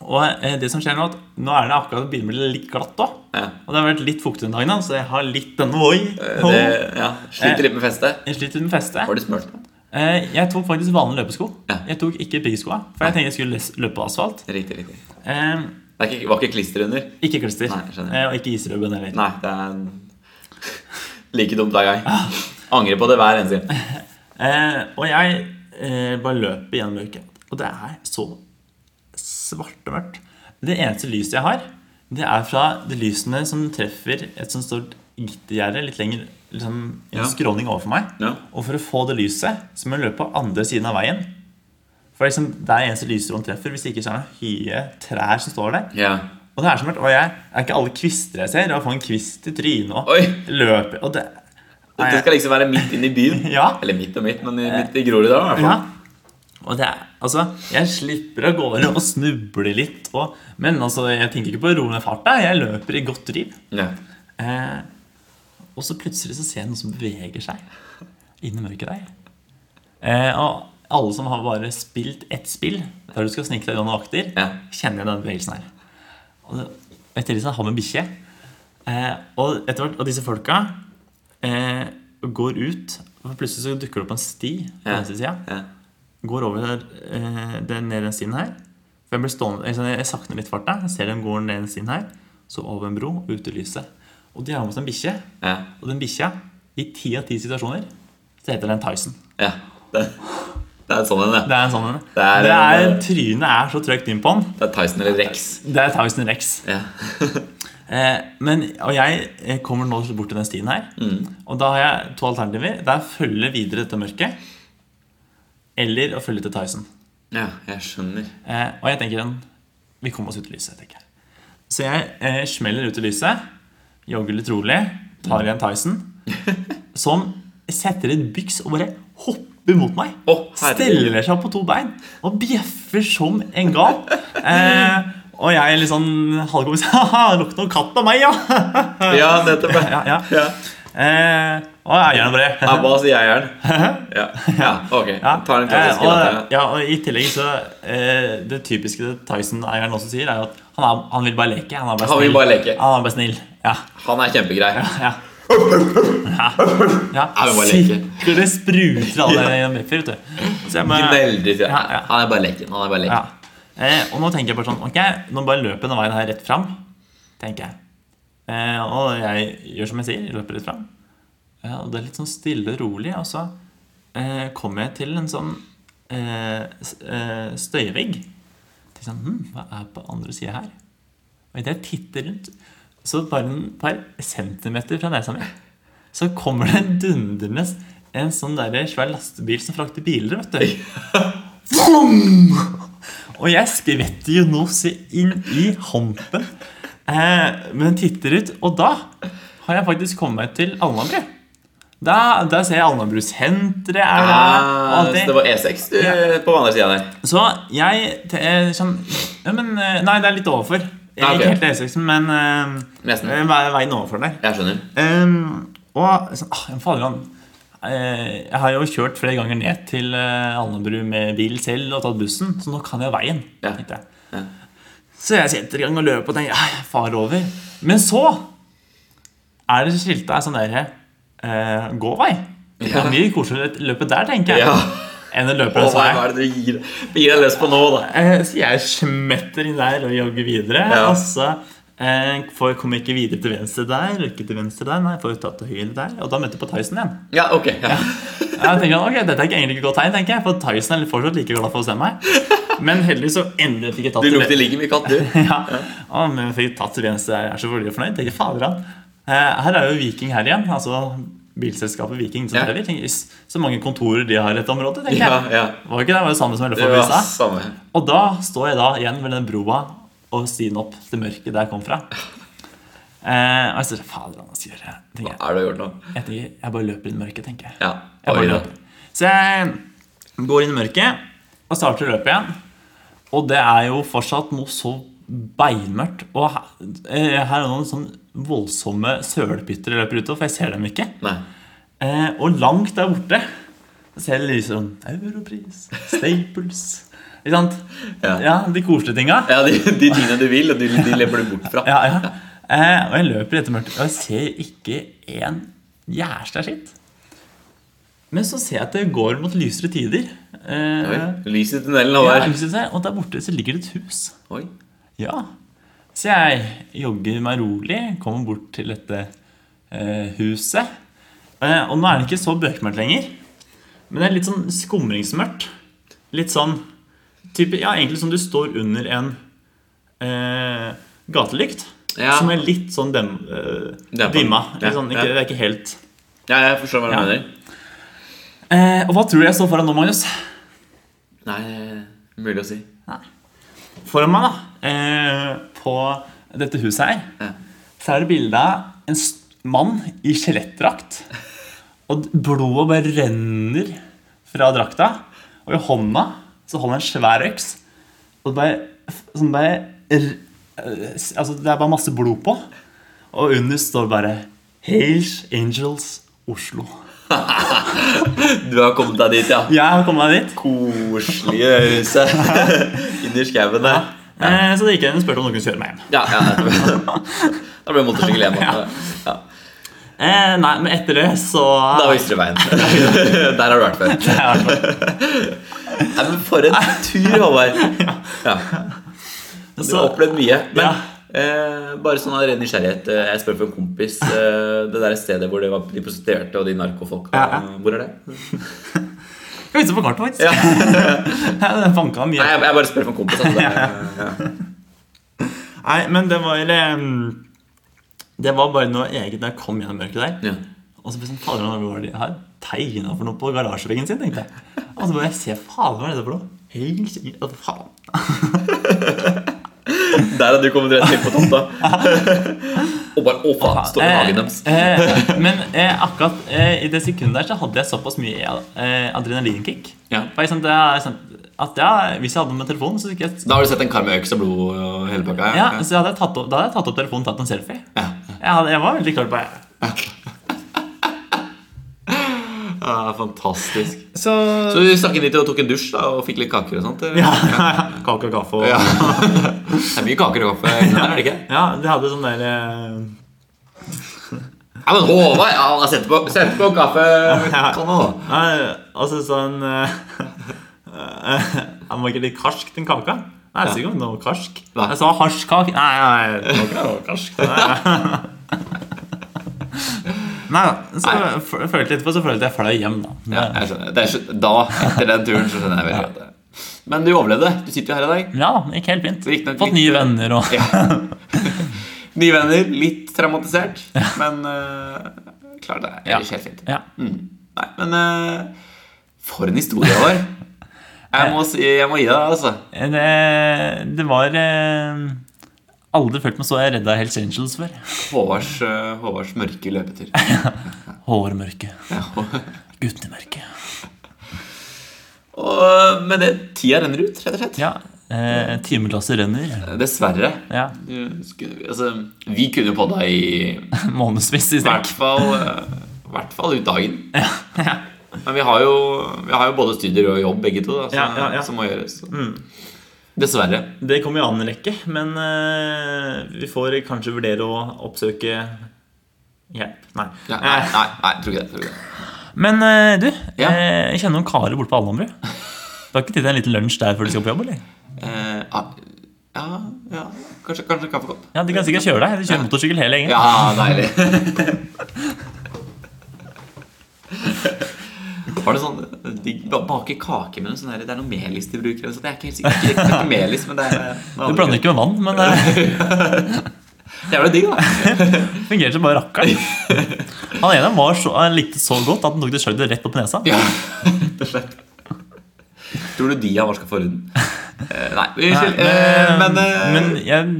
[SPEAKER 2] Og eh, det som skjer nå, er at nå er det akkurat det begynner å bli litt glatt òg.
[SPEAKER 1] Ja. Eh,
[SPEAKER 2] Og det har vært litt fuktig den dagen, da, så jeg har litt denne oi.
[SPEAKER 1] Det, ja. Sliter litt med festet.
[SPEAKER 2] Jeg sliter med festet.
[SPEAKER 1] Var det smurt?
[SPEAKER 2] Eh, Jeg tok faktisk vanlige løpesko.
[SPEAKER 1] Ja.
[SPEAKER 2] Jeg tok ikke piggskoa, for jeg tenkte jeg skulle løs- løpe på asfalt.
[SPEAKER 1] Riktig, riktig. Det
[SPEAKER 2] Eh,
[SPEAKER 1] er ikke, var ikke klister under?
[SPEAKER 2] Ikke klister.
[SPEAKER 1] Nei, skjønner.
[SPEAKER 2] Eh, Og ikke isrødbønn heller.
[SPEAKER 1] Nei, det er like dumt hver gang. Angrer på det hver eneste gang.
[SPEAKER 2] Eh, og jeg eh, bare løper gjennom mørket. Og det er så svartemørkt. Det eneste lyset jeg har, det er fra de lysene som treffer et sånt stort gittergjerde litt lenger liksom, en
[SPEAKER 1] Ja.
[SPEAKER 2] skråning overfor meg.
[SPEAKER 1] Ja.
[SPEAKER 2] Og for å få det lyset, så må jeg løpe på andre siden av veien. For liksom, det er eneste lysstrålen treffer, hvis ikke så er det høye trær som står der.
[SPEAKER 1] Ja.
[SPEAKER 2] Og det er så mørkt. Og jeg er ikke alle kvister jeg ser. Og jeg får en kvist i trynet og
[SPEAKER 1] Oi.
[SPEAKER 2] løper. Og det
[SPEAKER 1] Det skal liksom være midt inn i byen.
[SPEAKER 2] *laughs* Ja.
[SPEAKER 1] Eller midt og midt, men i- midt i Groruddalen. i hvert fall.
[SPEAKER 2] Ja. Og det er, altså, jeg slipper av gårde og snubler litt. Og, men altså, jeg tenker ikke på å roe ned farta. Jeg løper i godt driv.
[SPEAKER 1] Ja.
[SPEAKER 2] Eh, og så plutselig så ser jeg noen som beveger seg inn i mørket der. Eh, og alle som har bare spilt ett spill, der du skal snike deg gjennom vakter,
[SPEAKER 1] Ja.
[SPEAKER 2] kjenner igjen den bevegelsen her. Og det, etter det så har vi en bikkje. Eh, og etter hvert, og disse folka eh, går ut, og plutselig så dukker det opp en sti på
[SPEAKER 1] Ja.
[SPEAKER 2] venstre sida
[SPEAKER 1] Ja.
[SPEAKER 2] går over eh, den, ned den stien her. For jeg, blir stående, jeg, jeg sakner litt farta. Jeg ser dem går ned den stien her. Så over en bro og ut i lyset. Og de har med seg en bikkje.
[SPEAKER 1] Ja.
[SPEAKER 2] Og den bikkja, i ti av ti situasjoner, så heter den Tyson.
[SPEAKER 1] ja. Det, det er sånn en
[SPEAKER 2] Det
[SPEAKER 1] det.
[SPEAKER 2] er en sånn en.
[SPEAKER 1] Det er-
[SPEAKER 2] Det er, trynet er så trøkt inn på han.
[SPEAKER 1] Det er Tyson eller Rex.
[SPEAKER 2] Det er Tyson Rex.
[SPEAKER 1] Ja. *laughs*
[SPEAKER 2] Eh, men, og jeg eh, kommer nå bort til den stien her.
[SPEAKER 1] Mm.
[SPEAKER 2] Og da har jeg to alternativer. Det er å følge videre dette mørket, eller å følge til Tyson.
[SPEAKER 1] ja, jeg skjønner.
[SPEAKER 2] Eh, og jeg tenker den Vi kommer oss ut i lyset, tenker jeg. Så jeg eh, smeller ut i lyset, jogger litt rolig, tar
[SPEAKER 1] *laughs*
[SPEAKER 2] igjen Tyson, som setter et byks og bare hopper mot meg.
[SPEAKER 1] Å, herregud.
[SPEAKER 2] steller seg på to bein og bjeffer som en gal. Eh, og jeg litt sånn halvkomisk *laughs* Ha-ha, lukter noe katt av meg, ja!
[SPEAKER 1] Ja, nettopp.
[SPEAKER 2] ja, ja.
[SPEAKER 1] Ja.
[SPEAKER 2] Eh, og eieren bare
[SPEAKER 1] Ja, hva sier jeg er den? Ja. ja, ok. Tar den klassiske
[SPEAKER 2] eh,
[SPEAKER 1] latteren.
[SPEAKER 2] og, ja, og I tillegg så eh, Det typiske det Tyson-eieren også sier, er jo at han, er, han vil bare leke. Han, er bare
[SPEAKER 1] Han vil
[SPEAKER 2] snill.
[SPEAKER 1] bare leke.
[SPEAKER 2] Han er bare snill. Ja.
[SPEAKER 1] Han er kjempegrei. *laughs*
[SPEAKER 2] ja. ja.
[SPEAKER 1] Han vil bare leke.
[SPEAKER 2] Sikkert det spruter alle gjennom Beffer, vet du. Så jeg bare-
[SPEAKER 1] Veldig sier jeg.
[SPEAKER 2] Ja, ja.
[SPEAKER 1] Han er bare leken. Han er bare leken.
[SPEAKER 2] ja. eh, Og nå tenker jeg bare sånn Ok, nå bare løper jeg denne veien her rett fram. tenker jeg. Eh, og jeg gjør som jeg sier, jeg løper litt fram. Eh, og det er litt sånn stille og rolig. Og så eh, kommer jeg til en sånn eh, s- eh, støyvegg. Tenker sånn, hm, hva er på andre sida her? Og idet jeg titter rundt, så bare en par centimeter fra nesa mi, så kommer det dundrende en sånn der svær lastebil som frakter biler, vet du. Vroom! Og jeg skvetter jo nå så inn i hampen. Eh, men titter ut, og da har jeg faktisk kommet meg til Alnabru. Da, da ser jeg Alnabru-senteret er der. og
[SPEAKER 1] Ah,
[SPEAKER 2] alt
[SPEAKER 1] så det var E6 du, på andre sida der.
[SPEAKER 2] så jeg te- eh, sånn, ja, men, eh, Nei, det er litt overfor. Jeg
[SPEAKER 1] Ja, Ah, ok.
[SPEAKER 2] Ikke helt E6, men eh,
[SPEAKER 1] Nesten.
[SPEAKER 2] eh, ve- veien overfor der.
[SPEAKER 1] Jeg skjønner.
[SPEAKER 2] Ehm, og sånn, ah, fader han eh, Jeg har jo kjørt flere ganger ned til eh, Alnabru med bil selv og tatt bussen, så nå kan jeg veien.
[SPEAKER 1] Ja.
[SPEAKER 2] tenkte jeg. Så jeg setter i gang og løper og tenker «Ah, jeg far over. Men så er det skiltet er sånn der eh, gåvei. Det
[SPEAKER 1] Ja.
[SPEAKER 2] er mye koseligere å løpe der, tenker jeg,
[SPEAKER 1] Ja.
[SPEAKER 2] enn å løpe
[SPEAKER 1] Å,
[SPEAKER 2] den
[SPEAKER 1] hva
[SPEAKER 2] veien.
[SPEAKER 1] er det du gir, gir deg løs på nå, da?
[SPEAKER 2] Eh, Så jeg smetter inn der og jogger videre.
[SPEAKER 1] Ja.
[SPEAKER 2] Og så eh, får, kommer jeg ikke videre til venstre der, ikke til venstre der, nei, får ta til høyre der. Og da møter jeg på Tyson igjen.
[SPEAKER 1] Ja, ok. Ja.
[SPEAKER 2] Jeg tenker, ok, Dette er ikke egentlig ikke godt tegn, tenker jeg, for Tyson er fortsatt like glad for å se meg. Men heldigvis så endelig fikk jeg tatt
[SPEAKER 1] Du
[SPEAKER 2] til
[SPEAKER 1] lukter like mye katt, du.
[SPEAKER 2] *laughs* ja. Å, men jeg fikk tatt til venstre der. Jeg er så veldig fornøyd. Tenker, fader han. Eh, Her er jo Viking her igjen. altså Bilselskapet Viking. som
[SPEAKER 1] Ja.
[SPEAKER 2] driver. Tenker, jøss, Så mange kontorer de har i dette området, tenker
[SPEAKER 1] Ja,
[SPEAKER 2] jeg.
[SPEAKER 1] ja.
[SPEAKER 2] Var ikke det? det var jo samme som jeg løp
[SPEAKER 1] Det
[SPEAKER 2] forbi i
[SPEAKER 1] var
[SPEAKER 2] stad.
[SPEAKER 1] samme.
[SPEAKER 2] Og da står jeg da igjen ved den broa og stigen opp til mørket der jeg kom fra. Eh, og jeg sier Fader, hva skal jeg gjøre?
[SPEAKER 1] Hva
[SPEAKER 2] Tenker jeg.
[SPEAKER 1] er det du har gjort nå?
[SPEAKER 2] Jeg, tenker, jeg bare løper inn i mørket, tenker jeg.
[SPEAKER 1] Ja.
[SPEAKER 2] jeg
[SPEAKER 1] Oi,
[SPEAKER 2] bare
[SPEAKER 1] da.
[SPEAKER 2] løper. Så jeg går inn i mørket og starter løpet igjen. Og det er jo fortsatt noe så beinmørkt. Og her, eh, her er noen sånn voldsomme sølepytter jeg løper utover, for jeg ser dem ikke.
[SPEAKER 1] Nei.
[SPEAKER 2] Eh, og langt der borte så ser jeg det lyser sånn Europris, Staples Ikke sant?
[SPEAKER 1] Ja.
[SPEAKER 2] Ja, De koselige tinga.
[SPEAKER 1] Ja, de, de tingene du vil, og de, de løper du bort fra.
[SPEAKER 2] Ja, ja. Eh, og jeg løper etter mørkt, og jeg ser ikke en jævla skitt. Men så ser jeg at det går mot lysere tider. Eh,
[SPEAKER 1] Oi, Lyset i tunnelen nå
[SPEAKER 2] ja,
[SPEAKER 1] der.
[SPEAKER 2] jeg synes det, og der borte så ligger det et hus.
[SPEAKER 1] Oi.
[SPEAKER 2] Ja. Så jeg jogger meg rolig, kommer bort til dette eh, huset. Eh, og nå er det ikke så bøkmørkt lenger, men det er litt sånn skumringsmørkt. Litt sånn type, Ja, egentlig som du står under en eh, gatelykt.
[SPEAKER 1] Ja.
[SPEAKER 2] Som er litt sånn dem, eh,
[SPEAKER 1] Dempa.
[SPEAKER 2] dimma.
[SPEAKER 1] Ja,
[SPEAKER 2] Litt sånn,
[SPEAKER 1] ja.
[SPEAKER 2] ikke, det er ikke helt
[SPEAKER 1] Ja, jeg forstår hva du
[SPEAKER 2] Ja.
[SPEAKER 1] mener.
[SPEAKER 2] eh, Og hva tror du jeg står foran nå, Magnus?
[SPEAKER 1] Nei, mulig å si.
[SPEAKER 2] Foran meg, da, eh, på dette huset her,
[SPEAKER 1] Ja.
[SPEAKER 2] så er det bilde av en s- mann i skjelettdrakt. Og d- blodet bare renner fra drakta. Og i hånda så holder han en svær øks. Og det bare, f- som bare r- eh, s- Altså, det er bare masse blod på. Og under står det bare Hales Angels Oslo.
[SPEAKER 1] Du har kommet deg dit, ja.
[SPEAKER 2] Jeg har kommet meg dit.
[SPEAKER 1] Koselige *laughs* huset inni skauen der.
[SPEAKER 2] Eh, så det gikk jeg inn og spurte om noen kunne kjøre meg hjem.
[SPEAKER 1] Ja, ja. *laughs* Da ble det motorsykkel hjemme.
[SPEAKER 2] Ja.
[SPEAKER 1] Ja.
[SPEAKER 2] Eh, nei, men etter det så
[SPEAKER 1] Da visste du veien. *laughs* Der har du vært før. Nei, men for en tur, Håvard. Ja. Du har
[SPEAKER 2] Så-
[SPEAKER 1] opplevd mye. Men
[SPEAKER 2] Ja.
[SPEAKER 1] eh, bare sånn av ren nysgjerrighet. eh, Jeg spør for en kompis. Eh, det der stedet hvor det var de prostituerte og de narkofolka.
[SPEAKER 2] Ja, ja.
[SPEAKER 1] Hvor er det?
[SPEAKER 2] Skal vise på kartet, faktisk.
[SPEAKER 1] Ja.
[SPEAKER 2] *laughs* Den fanka mye.
[SPEAKER 1] Nei, jeg, jeg bare spør for en kompis. Altså, det, er- ja.
[SPEAKER 2] Nei, men det var um, Det var bare noe eget da jeg kom gjennom mørket der.
[SPEAKER 1] Ja.
[SPEAKER 2] Og så ble jeg sånn, fader, hva var det de har tegna for noe på garasjeveggen sin? tenkte jeg. Og så bare jeg se, fader, hva er dette for noe? Helt sikkert, at faen.
[SPEAKER 1] Der har du kommet rett inn på tomta. og bare Å, faen! Står i magen deres.
[SPEAKER 2] eh, men eh, akkurat eh, i det sekundet der så hadde jeg såpass mye eh, adrenalinkick.
[SPEAKER 1] Ja.
[SPEAKER 2] For jeg, sånn, det er, sånn, at ja, hvis jeg hadde med telefonen, så skulle jeg
[SPEAKER 1] Da har du sett en kar med øks og blod og hele pakka?
[SPEAKER 2] ja, så hadde jeg tatt opp, Da hadde jeg tatt opp telefonen og tatt en selfie. Jeg, hadde, jeg var veldig klar på det.
[SPEAKER 1] Ja, fantastisk.
[SPEAKER 2] Så,
[SPEAKER 1] Så du stakk inn dit og tok en dusj da, og fikk litt kaker og sånt? eller?
[SPEAKER 2] ja, *laughs* Kake og kaffe og
[SPEAKER 1] Ja. Det er mye kaker og kaffe inne der, er det ikke?
[SPEAKER 2] Ja, de hadde sånn der eh,
[SPEAKER 1] Ja, men Håvard, ja, han har sett på, sett på kaffe Kan han da?
[SPEAKER 2] *laughs* nei, Altså sånn eh, eh, Han var ikke litt karsk, den kaka. Nei, jeg sier ikke om det var karsk.
[SPEAKER 1] Nei.
[SPEAKER 2] Jeg sa harskak. Nei, nei, det var ikke noe karsk. Nei, *laughs* nei da. Så
[SPEAKER 1] Nei.
[SPEAKER 2] f- følte jeg etterpå så følte jeg fløy hjem, da.
[SPEAKER 1] Ja, jeg skjønner. Det er, så- da, etter den turen, så skjønner jeg veldig godt det. Men du overlevde. Du sitter jo her i dag.
[SPEAKER 2] Ja da, gikk helt fint.
[SPEAKER 1] Riktignok
[SPEAKER 2] Fått
[SPEAKER 1] litt- eh,
[SPEAKER 2] nye venner og
[SPEAKER 1] Ja. Nye venner, litt traumatisert, men uh, klarer det.
[SPEAKER 2] Ja.
[SPEAKER 1] Ellers helt fint.
[SPEAKER 2] *laughs*
[SPEAKER 1] Mm.
[SPEAKER 2] ja.
[SPEAKER 1] Nei, men eh, for en historie det var. Jeg må, si, jeg må gi deg det, altså.
[SPEAKER 2] Det, det var eh, Aldri følt meg så redd av Hells Angels før.
[SPEAKER 1] Håvards, eh, Håvards mørke løpetur. *laughs*
[SPEAKER 2] Hårmørke.
[SPEAKER 1] Ja.
[SPEAKER 2] Guttemørke.
[SPEAKER 1] Og med det tida renner ut, rett og slett.
[SPEAKER 2] Ja. Eh, Timeglasset renner.
[SPEAKER 1] Dessverre.
[SPEAKER 2] Ja. *laughs*
[SPEAKER 1] Du skulle- Altså, vi kunne jo podda i
[SPEAKER 2] Månedsvis i
[SPEAKER 1] i hvert
[SPEAKER 2] strekk.
[SPEAKER 1] fall, eh, hvert fall ut dagen.
[SPEAKER 2] *laughs*
[SPEAKER 1] Men vi har, jo, vi har jo både studier og jobb, begge to, da, som,
[SPEAKER 2] Ja, ja, Mm. ja.
[SPEAKER 1] som må gjøres. så. Dessverre.
[SPEAKER 2] Det kommer i annen rekke, men eh, vi får kanskje vurdere å oppsøke hjelp. Nei.
[SPEAKER 1] Ja, nei,
[SPEAKER 2] Eh,
[SPEAKER 1] nei, nei, tror ikke det. Tror ikke det.
[SPEAKER 2] Men eh, du,
[SPEAKER 1] Ja.
[SPEAKER 2] eh, jeg kjenner noen karer borte på Alnabru. Du har ikke tid til en liten lunsj der før du skal på jobb? eller?
[SPEAKER 1] Eh, ah, ja, ja, kanskje, kanskje en kaffekopp.
[SPEAKER 2] Ja, De kan sikkert kjøre deg. De kjører motorsykkel hele gjengen.
[SPEAKER 1] Ja, deilig. Var det sånn De ba- baker kake med noe sånn her Det er noe melis de bruker. eller noe sånt. Jeg er ikke helt sikker. Ikke, ikke melis, men det er
[SPEAKER 2] Du blander ikke med vann, men *laughs* eh,
[SPEAKER 1] Det er jo digg, da.
[SPEAKER 2] det fungerte som bare rakkeren. *laughs* Han ene var så, han likte det så godt at han tok det sjøl rett opp i nesa.
[SPEAKER 1] Ja, *laughs* rett og slett. Tror du de har vaska forhuden? Eh, nei. vi-
[SPEAKER 2] Nei,
[SPEAKER 1] eh, men, eh,
[SPEAKER 2] men, jeg,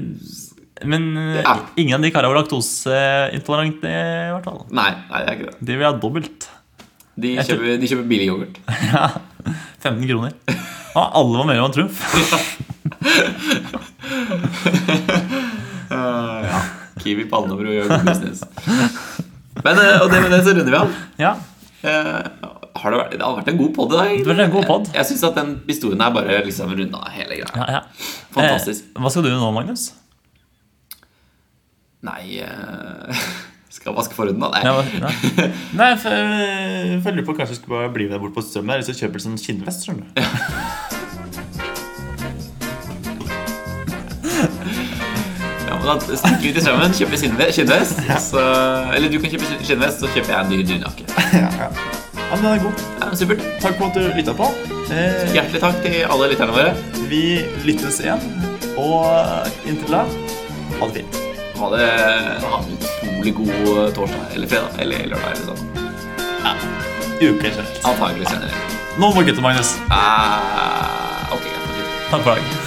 [SPEAKER 2] men eh,
[SPEAKER 1] Ja.
[SPEAKER 2] ingen av de karene var laktoseintolerante, i hvert fall.
[SPEAKER 1] nei, nei, det er ikke det.
[SPEAKER 2] De ville ha dobbelt.
[SPEAKER 1] De
[SPEAKER 2] Jeg tror-
[SPEAKER 1] kjøper, de kjøper billig yoghurt.
[SPEAKER 2] Ja, 15
[SPEAKER 1] *laughs*
[SPEAKER 2] kroner. Og alle var mellom Trumf.
[SPEAKER 1] ja. Kiwi på Alnabru gjør god business. Men, eh, og det med det så runder vi av.
[SPEAKER 2] Ja,
[SPEAKER 1] Eh, har det, vært, det har vært en god podd i dag.
[SPEAKER 2] det var en god podd.
[SPEAKER 1] Jeg syns at den historien her bare liksom runda hele greia.
[SPEAKER 2] Ja, ja.
[SPEAKER 1] Fantastisk.
[SPEAKER 2] Eh, hva skal du nå, Magnus?
[SPEAKER 1] Nei eh, *laughs* Skal jeg vaske forhuden, da? Nei.
[SPEAKER 2] Ja,
[SPEAKER 1] *laughs*
[SPEAKER 2] hva- ja. Nei, for, eh, jeg føler på kanskje du skulle bare bli med bort på Strøm der, eller så kjøper du sånn kinnvest, skjønner du.
[SPEAKER 1] Ja, men da stikker vi til strømmen, kjøper skinnve- skinnvest. Så, eller du kan kjøpe skin- skinnvest, så kjøper jeg en dyr dunjakke.
[SPEAKER 2] Ja, men den er god.
[SPEAKER 1] Ja, men supert.
[SPEAKER 2] Takk for at du lyttet på. Eh,
[SPEAKER 1] Hjertelig takk til alle lytterne våre.
[SPEAKER 2] Vi lyttes igjen, og inntil da, ha det fint.
[SPEAKER 1] Ha det ha en utrolig god eh, torsdag eller fredag eller lørdag eller sånn.
[SPEAKER 2] Ukeskjønt.
[SPEAKER 1] Antagelig senere.
[SPEAKER 2] Nå må gutten, Magnus.
[SPEAKER 1] Ah, ok, greit.
[SPEAKER 2] Takk for i dag.